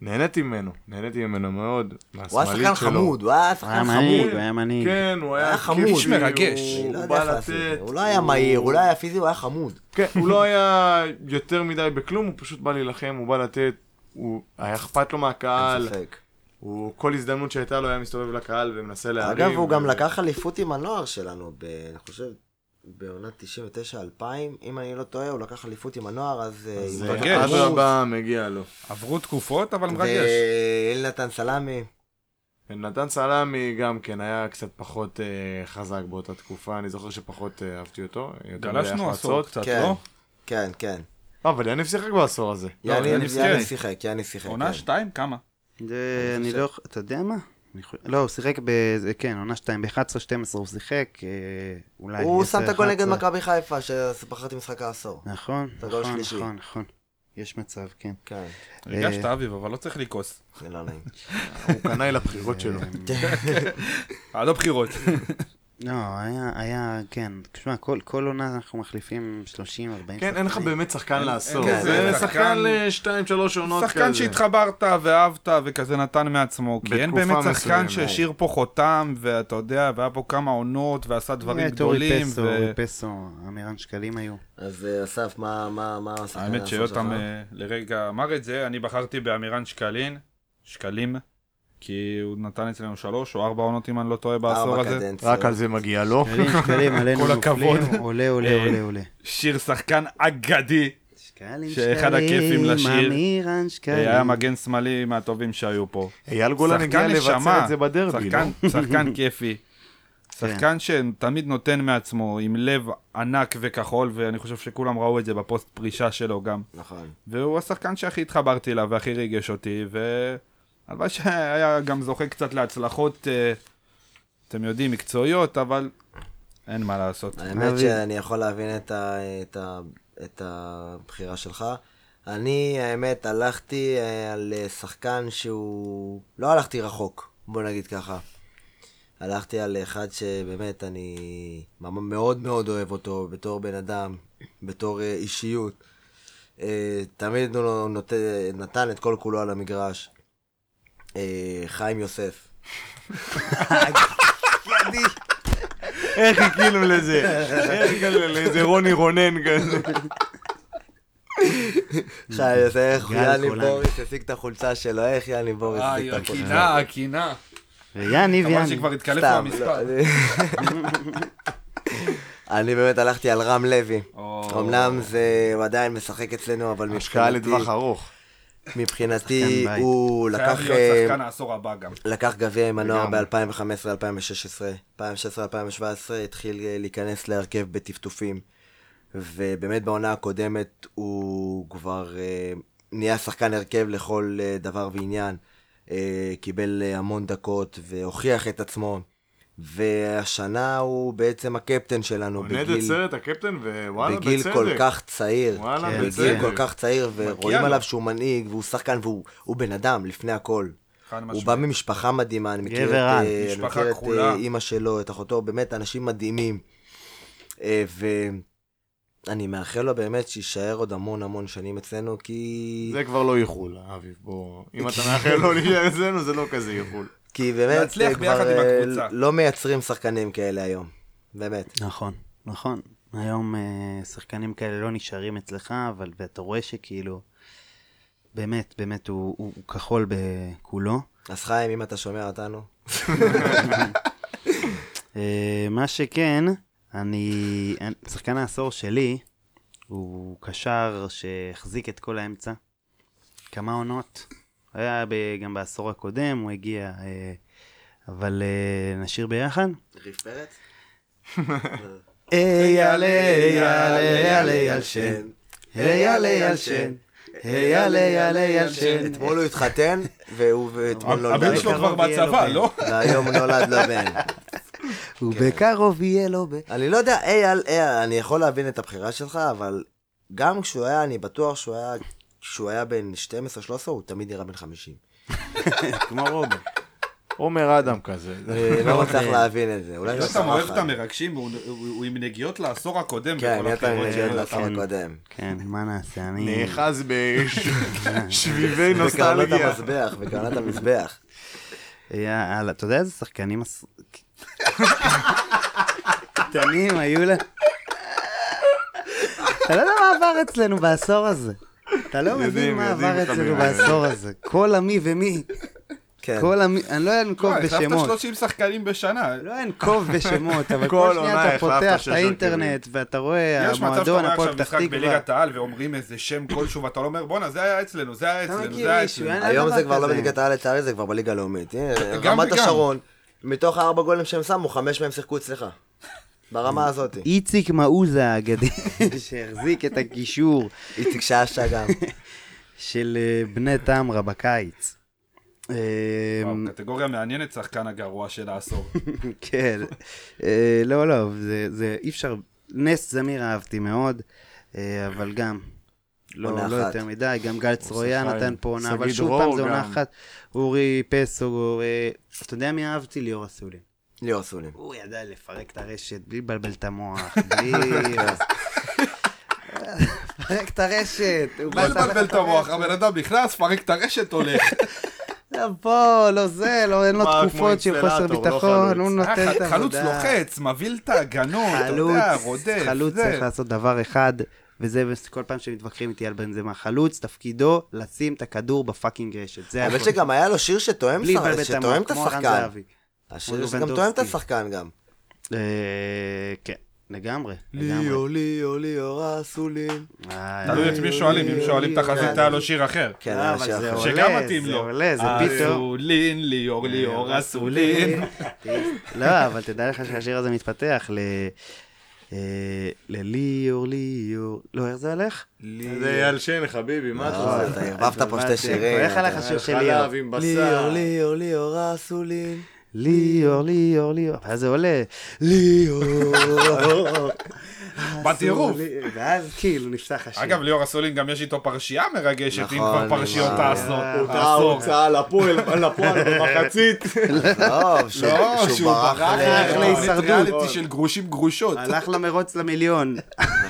נהניתי ממנו, נהניתי ממנו מאוד,
הוא היה
מהשמאלית
שחקן
שלו.
חמוד, הוא היה
הוא היה
שחקן
מנהיג,
חמוד.
הוא היה מנהיג.
כן, הוא היה
היה חמוד.
כיף לי,
מרגש.
הוא-
אני לא
הוא
יודע
בא
איך לעשות את
לתת.
זה. הוא לא היה מהיר, הוא לא היה פיזי, הוא היה חמוד.
כן, הוא לא היה יותר מדי בכלום, הוא פשוט בא להילחם, הוא בא לתת, הוא היה אכפת לו
אין
מהקהל,
ספק.
הוא כל הזדמנות שהייתה לו היה מסתובב לקהל ומנסה להרים.
אגב, הוא גם
ו-
לקח אליפות עם הנוער שלנו, ב- אני חושב, בעונת 99-2000, אם אני לא טועה, הוא לקח אליפות עם הנוער, אז... אה,
אז כן,
עם כל
מרגש.
הכבוד.
אדרבה, מגיע לו.
עברו תקופות, אבל מרגש.
ואל נתן סלמי,
נתן סלמי גם כן היה קצת פחות אה, חזק באותה תקופה, אני זוכר שפחות אה, אהבתי אותו. יותר מדי
גלשנו עשור
החמצות.
קצת,
כן.
לא?
כן, כן.
אה, אבל יניב שיחק בעשור הזה.
לא,
יאני
יניב
יאני
כן.
שיחק, יאני שיחק. כן.
עונה שתיים? כמה?
אה,
זה, אני לא, אתה יודע מה? אני חו- לא, הוא שיחק ב... זה- כן, עונה 2, ב-11-12 הוא שיחק, אה, אולי...
הוא
10,
שם את הגול נגד
11.
מכבי חיפה, שבחרתי משחק העשור.
נכון,
את הגול
נכון,
השלישי.
נכון, נכון. יש מצב, כן.
כן,
הרגשת אביב, אבל לא צריך לכעוס.
זה לא נעים. כן,
הוא קנאי לבחירות שלו.
עד הבחירות.
לא, היה, היה, כן. תשמע, כל, כל עונה אנחנו מחליפים 30-40 שחקנים.
כן, אין לך באמת שחקן לעשור.
כזה
זה
שחקן-
כן, שחקן לשתיים, שלוש עונות כזה.
שחקן שהתחברת ואהבת וכזה נתן מעצמו, כי אין
בתקופה
באמת שחקן
מסוימת.
שהשאיר פה חותם, ואתה יודע, והיה פה כמה עונות, ועשה
היה
דברים
אה,
את אורי
גדולים.
אה, פסו,
ו-
אורי פסו, אמירן שקלים היו.
אז אה, אסף, מה מה- מה השחקן העשור
האמת
שלך?
שיותם אה, לרגע אמר את זה, אני בחרתי באמירן שקלין, שקלים, כי הוא נתן אצלנו שלוש או ארבע עונות, אם אני לא טועה, בעשור
ארבע
הזה.
קדנציות.
רק על זה מגיע לו.
שקלים, שקלים, עלינו
כל
נופלים,
הכבוד.
עולה,
אה,
עולה, עולה, עולה.
שיר שחקן אגדי,
שקלים,
שאחד הכיפים לשיר.
אמירן
אה,
כן.
שקלים.
היה מגן שמאלי מהטובים שהיו פה.
אייל גולן הגיע לבצע את זה בדרבי, לא? כן.
שחקן, שחקן כיפי. שחקן שתמיד נותן מעצמו, עם לב ענק וכחול, ואני חושב שכולם ראו את זה בפוסט פרישה שלו גם.
נכון.
והוא השחקן שהכי התחברתי אליו והכי ריגש אותי, והלוואי שהיה גם זוכה קצת להצלחות, אה, אתם יודעים, מקצועיות, אבל אין מה לעשות.
האמת
אבי.
שאני יכול להבין את, ה, את, ה, את הבחירה שלך. אני, האמת, הלכתי אה, על אה, שחקן שהוא... לא הלכתי רחוק, בוא נגיד ככה. הלכתי על אחד שבאמת אני ממ- מאוד מאוד אוהב אותו בתור בן אדם, בתור אה, אישיות. אה, תמיד הוא נות... נתן את כל כולו על המגרש. אה, חיים יוסף.
איך הגיעו לזה? איך הגענו לאיזה רוני רונן כזה?
איך ה- זה איך
גל
יאני
גולן.
בוריס השיג את החולצה שלו, איך יאני בוריס
איי,
השיג את החולצה.
הקינה, הקינה.
ויאניב,
חבל
יאניב.
אה, שכבר התקלף
סתם,
מהמספר.
לא, אני- אני באמת הלכתי על רם לוי.
או.
אמנם זה, הוא עדיין משחק אצלנו, אבל
השקעה
מבחינתי,
לטווח ארוך.
מבחינתי
שחקן בית.
הוא
חייב
לקח...
להיות
אה,
שחקן העשור הבא גם.
לקח גביע עם הנוער
לגמרי.
ב-2015, 2016, 2016, 2017, התחיל אה, להיכנס להרכב בטפטופים. ובאמת בעונה הקודמת הוא כבר אה, נהיה שחקן הרכב לכל אה, דבר ועניין. אה, קיבל אה, המון דקות והוכיח את עצמו. והשנה הוא בעצם הקפטן שלנו
עונד
בגיל,
את סרט הקפטן, ווואלה,
בגיל
בצדק.
כל כך צעיר.
וואלה,
כן,
בגיל
בצדק.
כל כך צעיר, ורואים
לו.
עליו שהוא מנהיג והוא שחקן והוא הוא בן אדם לפני הכל.
חד
הוא
משמעית.
בא ממשפחה מדהימה, אני מכיר את,
גבר על,
אה, אני
משפחה
מכיר את
כחולה.
אה, אימא שלו, את אחותו, באמת אנשים מדהימים. אה, ואני מאחל לו באמת שיישאר עוד המון המון שנים אצלנו, כי...
זה כבר לא איחול, אביב, בוא. אם אתה מאחל לו להישאר אצלנו, זה לא כזה איחול.
כי באמת
להצליח
אה,
ביחד
כבר
עם
אה,
הקבוצה.
לא מייצרים שחקנים כאלה היום. באמת.
נכון, נכון. היום אה, שחקנים כאלה לא נשארים אצלך, אבל ואתה רואה שכאילו, באמת, באמת, הוא, הוא, הוא כחול בכולו.
אז חיים, אם אתה שומע אותנו,
אה, מה שכן, אני... אני- שחקן העשור שלי הוא קשר שהחזיק את כל האמצע. כמה עונות. היה ב, גם בעשור הקודם, הוא הגיע, אה, אבל אה, נשאיר ביחד.
ריף פרץ?
אייל,
אייל, אייל,
אייל שן.
אייל, אייל שן.
אה,
אייל, אייל, אייל
שן.
אתמול הוא התחתן, והוא ואתמול לא נולד.
הבן
לו
שלו
בן.
כבר
קרוב יהיה לו
בצבא,
בן.
לא?
והיום נולד לו בן.
ובקרוב יהיה לו ב...
אני לא יודע, אייל, אייל, אני יכול להבין את הבחירה שלך, אבל גם כשהוא היה, אני בטוח שהוא היה, כשהוא היה בן 12-13, הוא תמיד נראה בן 50.
כמו רובי. עומר אדם כזה.
אה,
אני לא מצליח להבין את זה, אולי זה
אתה אוהב את
ככה.
המרגשים, והוא- הוא הוא עם נגיעות לעשור הקודם.
כן,
בכל
נהיית
הבחירות שלו. נכון.
מנהל לשר הקודם.
כן, מה נעשה? אני...
נאחז בשביבי
בקרנות
נוסטלגיה.
כן. המזבח, בקרנות המזבח.
יאללה, אתה יודע איזה שחקנים... עש- קטנים היו לה... אתה לא יודע מה עבר אצלנו בעשור הזה. אתה לא
יודעים,
מבין מה
יודעים,
עבר אצלנו
חברים.
בעשור הזה. כל המי ומי.
כן.
כל המי... אני לא אנקוב
אה, החלפת
בשמות.
30 שחקנים בשנה.
לא אנקוב בשמות, אבל
כל
כל
עונה
שנייה אתה
החלפת
פותח את
שש
האינטרנט ואתה רואה,
יש מצב שאתה
המועדון,
רואה
הפועל
עכשיו
פתח
משחק
תקווה.
בליגת העל ואומרים איזה שם כלשהו ואתה לא אומר בואנה זה היה אצלנו, זה היה אצלנו,
מכיר
זה היה
מישהו,
אצלנו.
אין
היום
דבר
זה כבר לא
כזה.
בליגת העל לצערי, זה כבר בליגה הלאומית. הנה,
גם
רמת
וגם.
השרון, מתוך הארבע גולים שהם שמו, חמש מהם שיחקו אצלך. ברמה הזאת.
איציק מעוזה האגדי, שהחזיק את הקישור.
איציק שאשא גם.
של אה, בני טמרה בקיץ. אה,
וואו, קטגוריה מעניינת שחקן הגרוע של העשור.
כן, אה, לא, לא, זה- זה אי אפשר, נס זמיר אהבתי מאוד, אה, אבל גם,
עונה
לא לא
אחת.
יותר מדי, גם גל צרויה
שחקן.
נתן פה עונה, אבל
שגיא
שוב
דרור
פעם זה עונה
גם.
אחת, אורי פסו, אה, אתה יודע מי אהבתי? ליאור אסולין.
ליאור סולין.
הוא ידע לפרק את הרשת בלי לבלבל את המוח, בלי... פרק את הרשת, הוא
לא
בא לך
לבלבל את המוח, הבן אדם נכנס, פרק את הרשת, הולך.
לא פה, לא זה, לא, אין לו
מה, כמו
תקופות של חוסר
אינסטלטור, לא
ביטחון,
חלוץ.
הוא
אה,
נותן את העבודה.
חלוץ לוחץ, מבהיל את ההגנות, אתה
חלוץ,
יודע, רודף.
חלוץ
זה.
צריך לעשות דבר אחד, וזה כל פעם שמתווכחים איתי על בנזמה. חלוץ, תפקידו לשים את הכדור בפאקינג רשת. זה
האמת
הכול.
שגם היה לו שיר שתואם
בלי
שר-
לבלבל את
שתואם
המוח,
את
כמו רן
השחקן.
זהבי.
השיר
כמו
שגם
לובנדובסקי.
תואם את השחקן גם.
אה, כן, לגמרי, לגמרי.
ליאו, ליאו, ליאו, רסולים.
אה,
תלוי את מי שואלים, אם שואלים את החזית היה לו שיר אחר.
כן,
אה,
היה
אבל
שיר
זה
אחר.
עולה.
שגם מתאים
זה
לו. אה,
עולה, זה אה, פתאום.
אסולין, ליאור, ליאור, אסולין.
לא, אבל תדע לך שהשיר הזה מתפתח ל... אה, לליאור, ליאור, לא, איך זה הולך?
זה אייל שן, חביבי, מה אתה
לא,
עושה?
אתה ערבבת פה שתי שירים.
איך הלך
אתה-
השיר של ליאור?
חלב עם
ליאור,
בשר.
ליאור, ליאור, רסולים.
ליאור, ליאור, ליאור, ואז זה עולה, ליאור.
בטירוף.
ואז כאילו נפתח השיר.
אגב, ליאור אסולין גם יש איתו פרשייה מרגשת, אם
נכון,
כבר פרשיות
אה,
נכון.
העשור.
אותה
העשור.
הוצאה לפועל לפועל במחצית.
עזוב,
לא,
שהוא ברח ל...
ל-
להישרדות.
להישרדות.
ריאליטי של גרושים גרושות.
הלך למרוץ למיליון.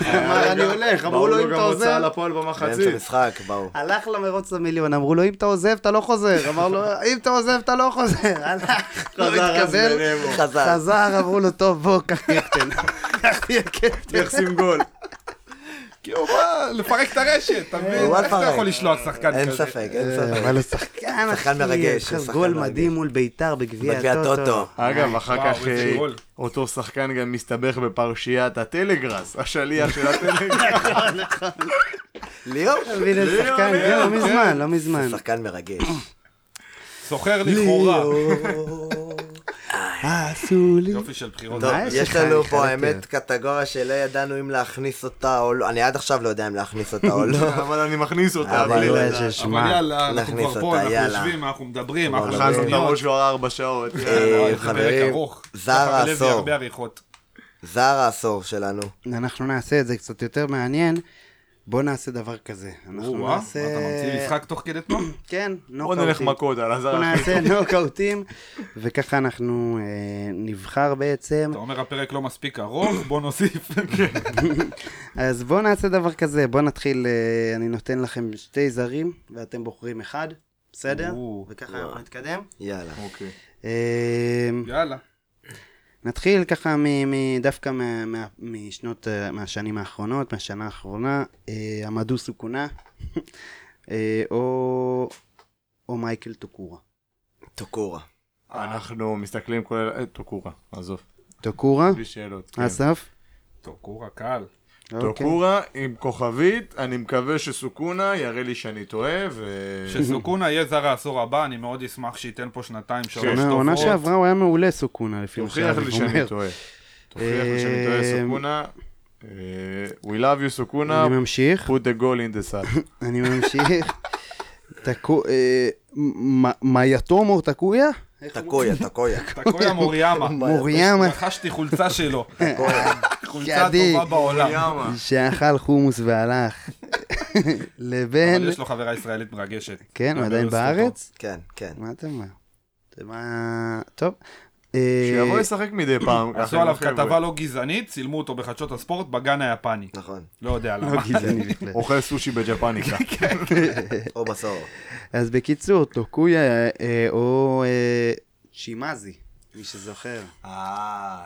נכון.
אמר, אני הולך, אמרו לו, אם אתה
גם הוצאה
עוזב...
לפועל
באמצע
במחצית.
משחק, באו.
הלך למרוץ למיליון, אמרו לו, אם אתה עוזב, אתה לא חוזר. אמר לו, אם אתה עוזב, אתה לא חוזר. הלך, לא
חזר אז
התקבל.
בנמו.
חזר.
חזר, אמרו לו, טוב, בוא, קח קפטן. קח תהיה קפטן. אה,
יחסים גול.
כי הוא בא לפרק את הרשת, אתה מבין?
הוא בא
איך אתה
לפרק.
יכול לשלוח שחקן כזה?
אין ספק, אין ספק.
אבל הוא שחקן, כן, אחי,
לא, שחקן מרגש, הוא
אחר
שחקן
גול
מרגש.
מדהים מול ביתר בגביע
בגביע
הטוטו.
הטוטו.
אגב, אחר
וואו,
כך
איזה
אה,
גול.
אותו שחקן גם מסתבך בפרשיית הטלגראס, השליח של הטלגראס.
ליאור? כן.
מבין איזה שחקן, לא מזמן, לא מזמן.
שחקן מרגש.
סוחר לכאורה.
עשו לי.
יופי של בחירות.
טוב,
מה יש
יש
לך?
לנו
אני
פה,
חייב
האמת,
להיות.
קטגוריה שלא ידענו אם להכניס אותה או לא. אני עד עכשיו לא יודע אם להכניס אותה או לא.
אבל אני מכניס אותה.
אבל
בלי
לא
לדעת.
יש-
אבל
שמע,
יאללה, אנחנו
נכניס
כבר
אותה,
פה, אנחנו
יאללה.
יושבים, אנחנו מדברים, אנחנו
אכלנו את
מדברים.
הראש כבר ארבע שעות.
אה,
וואי, זה פרק
חברים,
ארוך.
זר
ככה בלב
העשור.
הרבה עריכות.
זר העשור שלנו.
אנחנו נעשה את זה קצת יותר מעניין. בוא נעשה דבר כזה. אנחנו
וואו,
נעשה...
אתה ממציא משחק תוך כדי תנועה?
כן,
בוא
נוקאוטים.
נלך מכות על הזר.
אנחנו
הכי
נעשה נוקאוטים, וככה אנחנו אה, נבחר בעצם.
אתה אומר הפרק לא מספיק ארוך, בוא נוסיף.
אז בואו נעשה דבר כזה, בואו נתחיל, אה, אני נותן לכם שתי זרים, ואתם בוחרים אחד, בסדר?
או,
וככה אנחנו נתקדם.
יאללה.
אוקיי.
אה,
יאללה.
נתחיל ככה מ- מ- דווקא מה- מה- משנות, אה, מהשנים האחרונות, מהשנה האחרונה, אה, עמדו סוכונה, אה, או או מייקל טוקורה.
טוקורה.
אנחנו מסתכלים כולל... אה, טוקורה, עזוב.
טוקורה?
בלי שאלות. כן.
אסף?
טוב, קורה קל.
אוקיי.
טוקורה עם כוכבית, אני מקווה שסוכונה יראה לי שאני טועה, ו...
שסוכונה יהיה זר העשור הבא, אני מאוד אשמח שייתן פה שנתיים, שלוש
עונה- כן. עונה
תופעות.
שעברה הוא היה מעולה סוכונה, לפי מה
תוכיח לי
שאביב
שאני
כאילו אומר.
טועה. תוכיח לי שאני טועה,
אה,
סוכונה. אה, We love you, סוכונה.
אני ממשיך,
put the goal in the sun.
אני ממשיך. תקו... אה, מ- מ- מיאטומו תקויה?
טקויה, טקויה.
תקויה מוריאמה.
מוריאמה
רכשתי חולצה שלו. חולצה
ידי.
טובה בעולם.
יאמה.
שאכל חומוס והלך. לבין...
אבל יש לו חברה ישראלית מרגשת. לא
כן, הוא עדיין
לזכותו.
בארץ?
כן, כן.
מה אתה אומר? אתה מה... טוב. אה,
שיבוא לשחק מדי פעם. ככה
עשו
עם
עליו
החבר'ה.
כתבה לא גזענית, צילמו אותו בחדשות הספורט בגן היפני.
נכון.
לא יודע למה.
לא גזעני בכלל.
אוכל סושי
כן,
בג'פניקה.
או בסור.
אז בקיצור, טוקויה אה, או אה, שימאזי, מי שזוכר.
אה,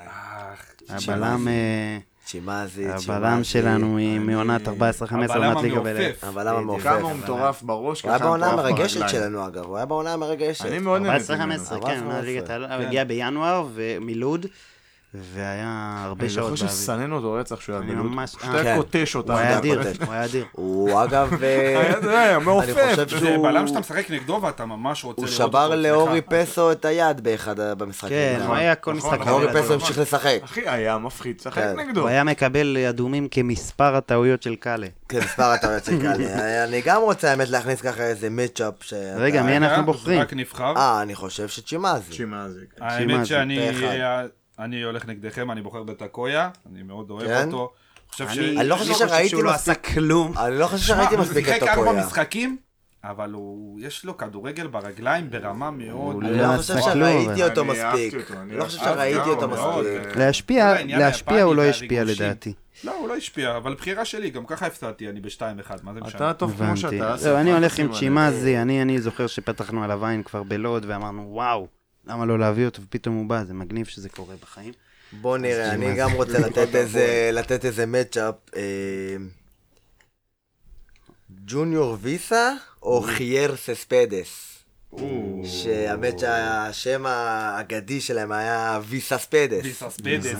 הבלם... אה,
צ'ימאזי, צ'ימאזי.
הבלם שלנו היא מעונת 14-15
הבלם
עונת ליגה ב...
המעופף.
הבלם המעופף.
כמה הוא מטורף בראש,
הוא היה
ככה הוא
בעונה
מטורף
המרגשת
ברגליים.
שלנו אגב, הוא היה בעונה המרגשת.
אני מאוד
14-15,
נהניתי ממנו.
כן, עונת ליגת העל- הוא הגיע בינואר ומלוד, והיה הרבה
אני
שעות
זוכר
באוויר.
שסנן אותו רצח שהוא היה
אני
בלוד.
ממש-
שאתה
כן.
קוטש אותה.
הוא היה
יודע,
אדיר,
אבל-
הוא היה אדיר.
הוא אגב... אה,
היה- זה היה מעופף.
אני חושב
זה
שהוא...
בלם שאתה משחק נגדו ואתה ממש רוצה
הוא
לראות
שבר
אותו
לאורי
אצלך.
פסו את היד באחד ה- במשחק.
כן,
נגדו.
הוא היה כל
נכון,
משחק.
נכון,
אורי
אבל
פסו
נכון.
המשיך לשחק.
אחי, היה מפחיד, שחק
כן.
נגדו.
הוא היה מקבל אדומים כמספר הטעויות של קאלה.
כן, מספר הטעויות של קאלי. אה, אני גם רוצה, האמת, להכניס ככה איזה מצ'אפ ש...
רגע, מי אנחנו
רגע,
בוחרים?
אה, רק נבחר.
אה, אני חושב שצ'ימאזי.
צ'ימאזי.
האמת שאני אה,
פה אחד.
אני הולך נגדכם, אני בוחר בטקויה, אני מאוד
כן?
אוהב אותו. חושב ש-
אני לא חושב שראיתי
שהוא לא
מספיק.
עשה כלום.
אני לא חושב שראיתי
הוא
מספיק את
שיחק ארבע
הקויה.
משחקים, אבל הוא, יש לו כדורגל ברגליים ברמה מאוד...
אני
לא
לא
עשה
חושב
כלום,
שראיתי
אבל-
אותו
אני אהבתי
מספיק.
אותו, אני
אני לא חושב
אהבתי
שראיתי
אותו
אותו
מאוד. אה,
מספיק.
להשפיע,
כל העניין
להשפיע
היפני
הוא לא השפיע
והריגושים.
לדעתי.
לא, הוא לא השפיע, אבל בחירה שלי, גם ככה הפסדתי, אני ב-2-1, מה זה משנה?
כן, אתה טוב כמו
הבנתי.
שאתה.
זהו, לא, אני
אל
הולך
תשים
עם
עליהם.
צ'ימאזי, אני אני זוכר שפתחנו עליו עין כבר בלוד ואמרנו, וואו, למה לא להביא אותו ופתאום הוא בא, זה מגניב שזה קורה בחיים.
בוא נראה, אני
צ'ימאזי.
גם רוצה לתת איזה- לתת איזה מצ'אפ. אה, ג'וניור ויסה
Mm.
או חייר סספדס? שהאמת שהשם האגדי שלהם היה ויסה ספדס.
ביסס פדס.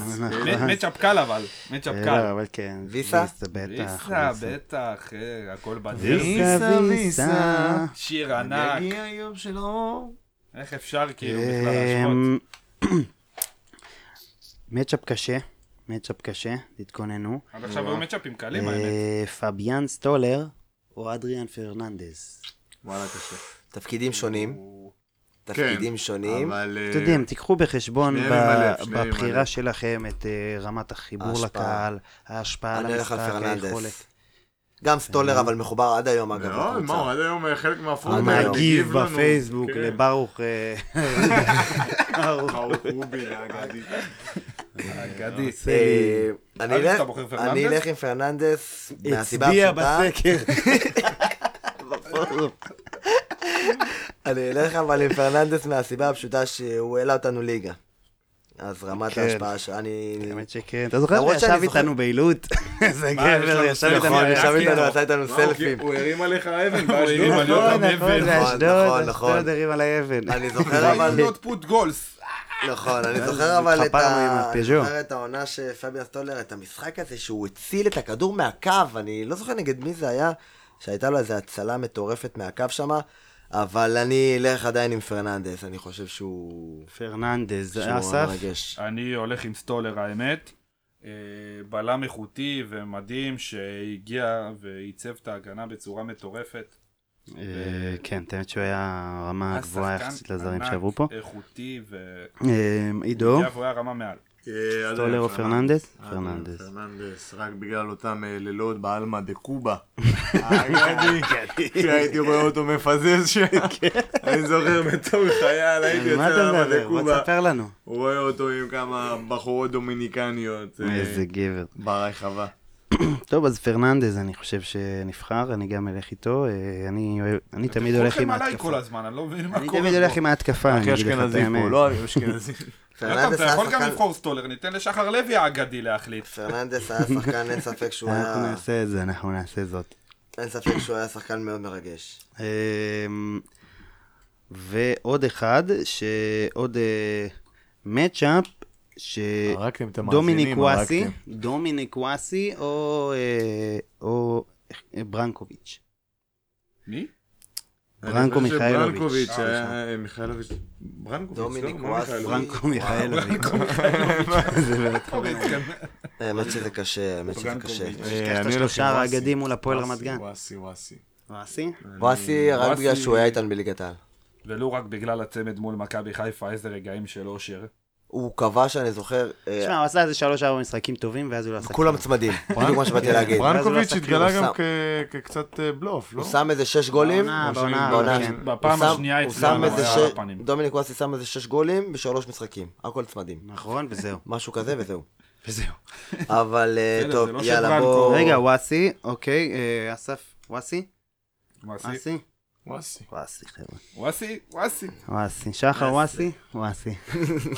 מצ'אפ קל אבל, מצ'אפ
נכון. אה,
קל.
לא, אבל כן.
ויסה?
בטח.
ביסה, בטח, אה, הכל בדרך.
ויסה,
ויסה,
ויסה.
שיר ענק,
יגיע יום של אור.
איך אפשר כאילו בכלל להשוות?
אמ, מצ'אפ קשה, מצ'אפ קשה, תתכוננו.
עד עכשיו היו מצ'אפים קלים האמת.
אה, פביאן סטולר או אדריאן פרננדז.
אה, וואלה, קשה.
תפקידים שונים.
כן.
תפקידים שונים.
אבל... אה,
אתם יודעים, תיקחו בחשבון
שניהם
ב-
עם הלב, שניהם עם
בבחירה
הלב.
שלכם את אה, רמת החיבור
ההשפעה.
לקהל, ההשפעה על
אני הולך
המשחק,
על
היכולת. אה. לא,
פרננדס. גם סטולר אבל מחובר עד היום אגב.
מאוד,
לקבוצה.
מה, הוא עד היום אה, חלק מהפורט.
הוא
הוא
היום.
מגיב בפייסבוק
כן.
לברוך. אה, ברוך.
אגדי.
אה, אני
אגב,
אלך-
אתה בוחר פרננדס?
אני אלך עם פרננדס מהסיבה
הצביע
הפשוטה.
בסקר. בפורום.
אני אלך אבל עם פרננדס מהסיבה הפשוטה שהוא העלה אותנו ליגה. אז רמת
כן.
ההשפעה ש... אני...
האמת שכן. אתה זוכר
למרות
שישב
שאני זוכר-
איתנו באילוט? איזה
מה, יש
גבר,
לנו
ישב
סלפון,
איתנו
נכון, ישב
אה,
איתנו,
כן.
עשה איתנו סלפים.
הוא הרים עליך אבן
הרים
באשדוד.
עליך. להיות
נכון,
המבל.
נכון,
נכון,
לאשדוד,
נכון.
אשדוד הרים על האבן.
אני זוכר אבל...
פוט גולס.
נכון, אני
זה
זוכר אבל את
התחפרנו עם
ה... אני
הפיז'ו.
זוכר את העונה שפביאן סטולר, את המשחק הזה שהוא הציל את הכדור מהקו, אני לא זוכר נגד מי זה היה, שהייתה לו איזו הצלה מטורפת מהקו שמה, אבל אני אלך עדיין עם פרננדס, אני חושב שהוא...
פרננדז, אה,
שהוא
אסף?
מרגש.
אני הולך עם סטולר האמת. אה, בלם איכותי ומדהים שהגיע ועיצב את ההגנה בצורה מטורפת.
אה, כן, את האמת שהוא היה רמה
היה
גבוהה
שחקן
יחסית לזרים
ענק, כן.
שעברו פה.
איכותי ו...
אה, עידו,
היה והוא היה רמה מעל.
אה,
סטולר או פרננדס? פרננדס.
פרננדס, רק בגלל אותם אה, לילות בעלמא דה קובה. האגדי,
כן.
שהייתי רואה אותו מפזז שם. אני זוכר בתור חייל, הייתי
על אה, מה
יוצא
אתה
לעלמא
מדבר?
דה
בוא
קובה.
תספר לנו.
הוא רואה אותו עם כמה בחורות דומיניקניות. אה,
איזה גבר.
ברחבה.
טוב, אז פרננדז אני חושב שנבחר, אני גם אלך איתו. אה, אני אוהב- אני תמיד הולך
אתם חולקים
עם ההתקפה.
עליי כל הזמן, אני לא מבין מה קורה
אני
פה.
תמיד הולך עם ההתקפה, אני
אחי
אגיד לך את
אשכנזי פה,
האמת.
לא אחי אשכנזי.
אגב,
פרננדס
אתה
היה
יכול גם
שחקן-
לבחור סטולר, ניתן לשחר לוי האגדי להחליט.
פרננדס היה שחקן, אין ספק שהוא
אנחנו
היה...
נעשה את זה, אנחנו נעשה זאת.
אין ספק שהוא היה שחקן מאוד מרגש.
אמ, ועוד אחד, שעוד אה, מצ'אפ,
אה,
הרגתם את
דומיניק
המאזינים,
וואסי,
הרגתם.
דומיניק וואסי או, אה, או אה, ברנקוביץ'.
מי?
ברנקו
אני חושב
מיכאילוביץ'.
שברנקוביץ'
אה,
היה... אה, מיכאילוביץ'. ברנקוביץ', לא?
דומיניק
מה
וואסי.
מיכאילוביץ'?
ברנקו מיכאלוביץ'. זה באמת חבל.
האמת שזה קשה, האמת שזה
פרנקוביץ'.
קשה.
יש
אה,
לך את
אני הולך
השלושה
עם וואסי.
האגדים מול הפועל
וואסי,
רמת גן.
וואסי, וואסי.
וואסי?
וואסי, רק
וואסי-
בגלל שהוא היה איתן בליגת העל.
ולו רק בגלל הצמד מול מכבי חיפה, איזה רגעים של אושר.
הוא כבש, אני זוכר, אה,
תשמע, הוא עשה איזה שלוש ארבע משחקים טובים, ואז הוא לא עשה
כולם צמדים, בדיוק מה שבאתי להגיד.
ברנקוביץ'
ואז הוא
התגלה
כן. לא
גם
שם.
כ- כקצת אה, בלוף, לא?
הוא שם איזה שש גולים.
בעונה,
הוא
בעונה,
שם-
בעונה.
כן.
הוא
בפעם
הוא שם-
השנייה
הוא
אצלנו
שם איזה
היה
ש-
על הפנים.
דומיניק וואסי שם איזה שש גולים בשלוש משחקים, הכל
לא
צמדים.
נכון, וזהו.
משהו כזה וזהו.
וזהו.
אבל אה,
בסדר,
טוב,
זה לא
יאללה
שברנקו-
בואו.
רגע, וואסי, אוקיי, אה, אסף, וואסי?
וואסי,
וואסי?
וואסי.
וואסי, חבר'ה.
וואסי, וואסי.
וואסי. שחר וואסי? וואסי.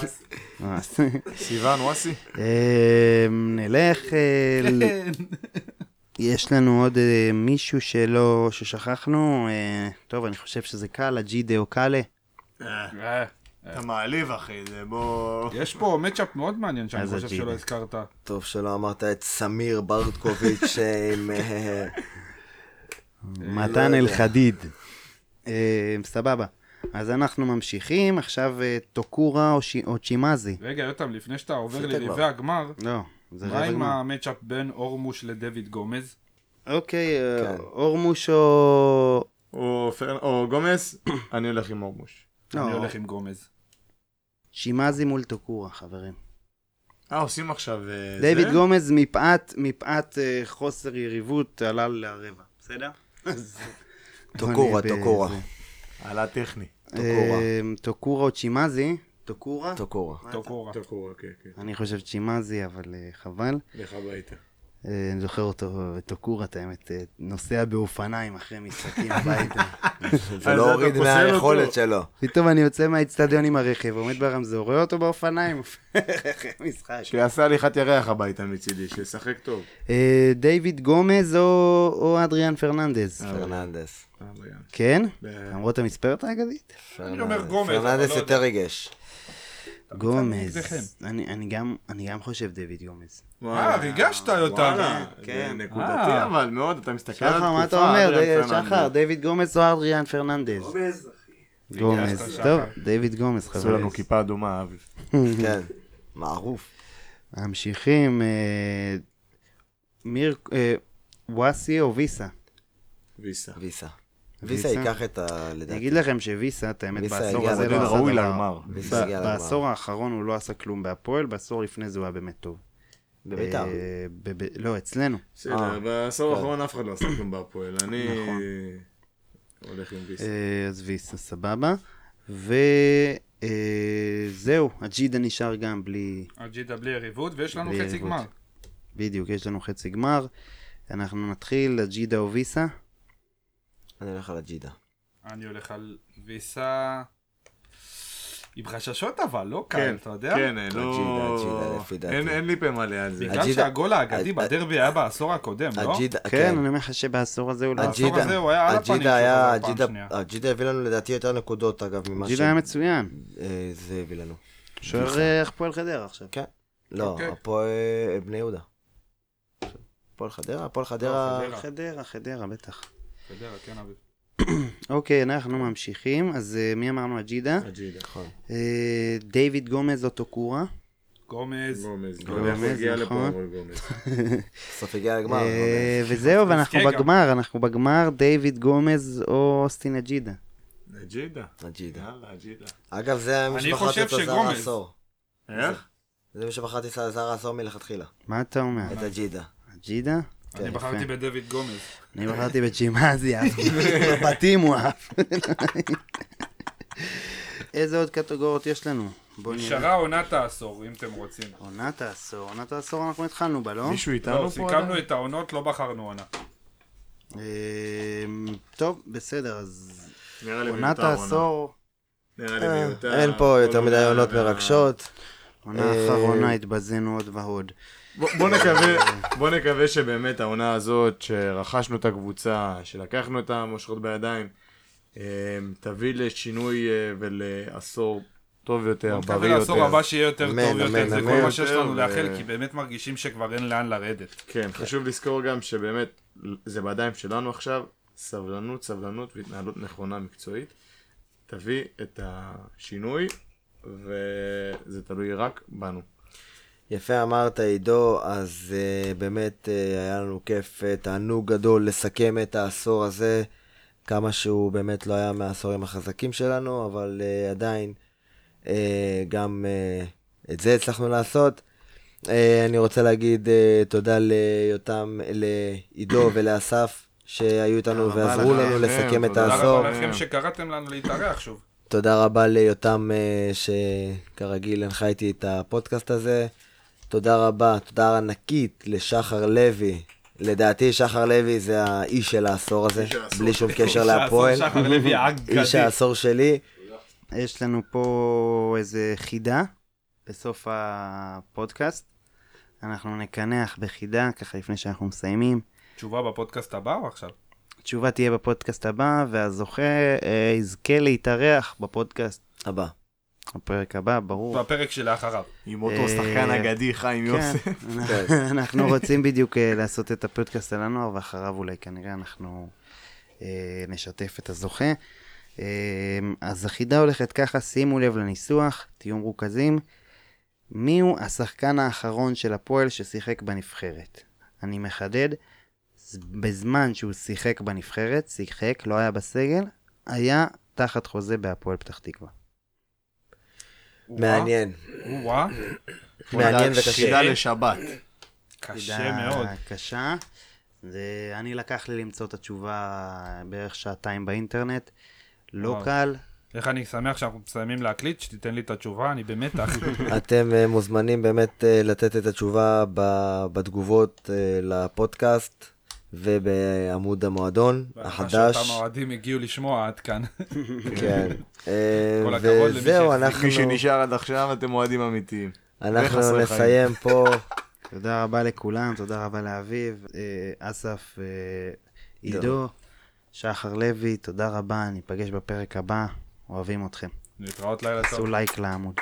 וואסי.
סיוון וואסי.
אה, נלך, אה, ל- יש לנו עוד אה, מישהו שלא, ששכחנו, אה, טוב, אני חושב שזה קאלה, ג'ידה או קאלה.
אה,
אתה מעליב אחי, זה בוא...
יש פה מצ'אפ מאוד מעניין שאני
אז
חושב
הג'ידה.
שלא הזכרת.
טוב שלא אמרת את סמיר ברדקוביץ' עם... אה,
מתן אלחדיד. אה, סבבה. אז אנחנו ממשיכים, עכשיו אה, טוקורה או שי- או צ'ימאזי.
רגע, יותם, לפני שאתה עובר
עשית
לרבעי
כבר.
הגמר,
לא, זה
מה
רבע
עם
גמר.
המצ'אפ בין אורמוש לדויד גומז?
אוקיי, אה,
כן.
אורמוש או...
או פר- או גומס, אני הולך עם אורמוש.
לא,
אני הולך עם גומז.
צ'ימאזי מול טוקורה, חברים.
אה, עושים עכשיו... אה,
דיוויד
זה?
גומז מפאת, מפאת אה, חוסר יריבות עלה לרבע, בסדר? אה, אז-
טוקורה,
אני ב-
טוקורה,
זה.
עלה טכני.
טוקורה.
אה, טוקורה או צ'ימאזי? טוקורה?
טוקורה.
טוקורה.
טקורה, כן, כן.
אני חושב צ'ימאזי, אבל אה, חבל.
לך הביתה.
אה, אני זוכר אותו, את טוקורה, את האמת, אה, נוסע באופניים אחרי משחקים הביתה.
זה לא
אתה
הוריד
פוסל
מהיכולת
אותו.
שלו.
פתאום אני יוצא מהאיצטדיון עם הרכב, עומד ברמזור, רואה אותו באופניים, אחרי משחק.
שיעשה הליכת ירח הביתה מצידי, שישחק טוב.
אה, דיוויד גומז או או אדריאן פרננדז?
אה.
פרננדס.
כן?
אה.
למרות המספרת האגדית?
אני אומר גומז, אבל
פרננדס
לא
יותר ריגש.
גומז.
נגדכם.
אני אני גם- אני גם חושב דיוויד גומז.
אה, ריגשת אותנו.
וואלה,
כן.
זה נקודתי
אה.
אבל מאוד, אתה
כן,
מסתכל על
שחר,
התקופה.
מה אתה אומר?
אדריאן
די-
פרננדס.
שחר, דיוויד גומז או אדריאן פרננדז? גומז, אחי. גומז.
שחר.
טוב, דיוויד גומז,
עשו
חברים.
לנו כיפה אדומה, אביב.
כן, מערוף.
ממשיכים. אה, מיר... אה, וואסי או ויסה?
ויסה.
ויסה.
ויסה?
ויסה ייקח את ה...
אני
לדעתי.
אגיד לכם שוויסה, את האמת,
ויסה
בעשור
הגיע
הזה
לגמר.
לא עשה
ראוי
דבר. אה,
לגמר.
ויסה
ב-
הגיע לגמר.
בעשור האחרון הוא לא עשה כלום בהפועל, בעשור לפני זה הוא היה באמת טוב.
בביתר.
אה, ב- ב- לא, אצלנו.
בסדר,
אה.
בעשור האחרון אף אחד לא עשה כלום בהפועל. אני הולך עם ויסה.
אה, אז ויסה, סבבה. וזהו, הג'ידה נשאר גם בלי...
הג'ידה בלי יריבות, ויש לנו
בלי
חצי
יריבות.
גמר.
בדיוק, יש לנו חצי גמר. אנחנו נתחיל, הג'ידה או ויסה?
לא?
אני הולך על הג'ידה.
אני הולך על ויסה. עם חששות אבל, לא קל,
כן,
אתה יודע?
כן, אה,
אג'ידה,
לא...
אג'ידה, לפי דעתי.
אין- אין לי פה מלא על זה.
בגלל
אג'ידה-
שהגול האגדי
אג-
בדרבי היה בעשור הקודם, לא?
אג'ידה,
כן, אני אומר לך שבעשור הזה הוא לא...
אג'ידה.
אג'ידה,
הזה הוא היה על הפנים
אג'ידה
כשהוא
היה,
חזר פעם
אג'ידה,
שנייה.
אג'ידה הביא לנו לדעתי יותר נקודות אגב ממה
ג'ידה היה מצוין.
אה, זה הביא לנו.
שוער אה, הפועל חדרה עכשיו.
כן. לא,
אוקיי.
הפועל בני יהודה. הפועל חדרה, הפועל חדרה.
לא,
לא.
חדרה.
חדרה, חדרה, בטח.
אתה יודע, כן, אבל-
אוקיי, אנחנו ממשיכים. אז אה, מי אמרנו? אג'ידה?
אג'ידה.
נכון.
אה, דיוויד גומז אוטוקורה.
גומז,
גומז.
גומז,
גומז הגיע לפה,
נכון.
אבל גומז.
בסוף הגיע לגמר.
אה,
אבל-
וזהו, ואנחנו
נזכה גם.
בגמר, אנחנו בגמר דיוויד גומז או אוסטין אג'ידה.
אג'ידה.
אג'ידה.
יאללה, אג'ידה.
אגב, זה המשפחה
חושב
של זר
שגומז.
העשור.
איך?
זה משפחה של זר העשור מלכתחילה.
מה אתה אומר?
אה.
את אג'ידה.
אג'ידה? כן,
אני
כן,
יפה.
בחרתי בדויד גומז.
אני בחרתי בג'ימאזיה, בבתים הוא אף. לא איזה עוד קטגוריות יש לנו? בוא נראה.
נשארה עונת העשור, אם אתם רוצים.
עונת העשור, עונת העשור אנחנו התחלנו בה, לא?
מישהו
לא,
איתנו פה?
סיכמנו
עדיין?
את העונות, לא בחרנו עונה.
אמ, טוב, בסדר, אז
נראה לי
עונת
מיותר עונה.
העשור,
נראה לי מיותר.
אה, אין פה יותר
כל
מדי
עונה
עונות
וה-
מרגשות.
עונה
אה,
האחרונה התבזינו עוד ועוד.
בוא בוא נקווה, בוא נקווה שבאמת העונה הזאת, שרכשנו את הקבוצה, שלקחנו את המושכות בידיים, אה, תביא לשינוי אה, ולעשור טוב יותר,
אני
בריא
מקווה לעשור
יותר.
הבא שיהיה יותר
אמן,
טוב יותר,
אמן,
זה
אמן.
כל מה שיש לנו
ו-
לאחל, כי באמת מרגישים שכבר אין לאן לרדת.
כן, חשוב לזכור גם שבאמת זה בידיים שלנו עכשיו, סבלנות, סבלנות והתנהלות נכונה מקצועית. תביא את השינוי, וזה תלוי רק בנו.
יפה אמרת עידו, אז uh, באמת uh, היה לנו כיף, uh, תענוג גדול לסכם את העשור הזה, כמה שהוא באמת לא היה מהעשורים החזקים שלנו, אבל uh, עדיין uh, גם uh, את זה הצלחנו לעשות. Uh, אני רוצה להגיד uh, תודה ליותם, לעידו ולאסף שהיו איתנו
תודה רבה
ועזרו
לכם,
לנו לסכם את
תודה רבה
העשור.
תודה רבה לכם שקראתם לנו להתארח שוב.
תודה רבה ליותם, אה, שכרגיל הנחה איתי את הפודקאסט הזה. תודה רבה, תודה ענקית לשחר לוי. לדעתי שחר לוי זה האיש של העשור הזה, בלי שום קשר להפועל.
שחר לוי האגדי.
איש העשור שלי.
יש לנו פה איזה חידה בסוף הפודקאסט. אנחנו נקנח בחידה, ככה לפני שאנחנו מסיימים.
תשובה בפודקאסט הבא או עכשיו?
התשובה תהיה בפודקאסט הבא, והזוכה אה, יזכה להתארח בפודקאסט
הבא.
הפרק הבא, ברור.
בפרק שלאחריו.
עם
אה,
אותו שחקן אגדי,
חיים
כן, אנחנו רוצים בדיוק אה, לעשות את הפודקאסט על הנוער, ואחריו אולי כנראה אנחנו אה, נשתף את הזוכה. אה, אז החידה הולכת ככה, שימו לב לניסוח, תהיו מרוכזים. מיהו השחקן האחרון של הפועל ששיחק בנבחרת? אני מחדד, ז- בזמן שהוא שיחק בנבחרת, שיחק, לא היה בסגל, היה תחת חוזה בהפועל פתח תקווה.
מעניין.
וואה,
מעניין
כן.
וקשה.
חידה
לשבת.
קשה
חידה
מאוד.
קשה. זה, אני לקח לי למצוא את התשובה בערך שעתיים באינטרנט. לא
וואו.
קל.
איך אני שמח שאנחנו מסיימים להקליט, שתיתן לי את התשובה, אני במתח.
אתם אה, מוזמנים באמת אה, לתת את התשובה ב- בתגובות אה, לפודקאסט ובעמוד המועדון החדש.
שאותם האוהדים הגיעו לשמוע עד כאן.
כן. אה,
כל הכבוד למי
וזהו,
שהחזיק.
אנחנו... לא-
עד עכשיו אתם אוהדים אמיתיים.
אנחנו
וחסרי חיים.
נסיים פה.
תודה רבה לכולם, תודה רבה לאביב, אה, אסף, אה, עידו, שחר לוי, תודה רבה, ניפגש בפרק הבא, אוהבים אתכם.
להתראות לילה טוב.
תעשו לייק לעמוד.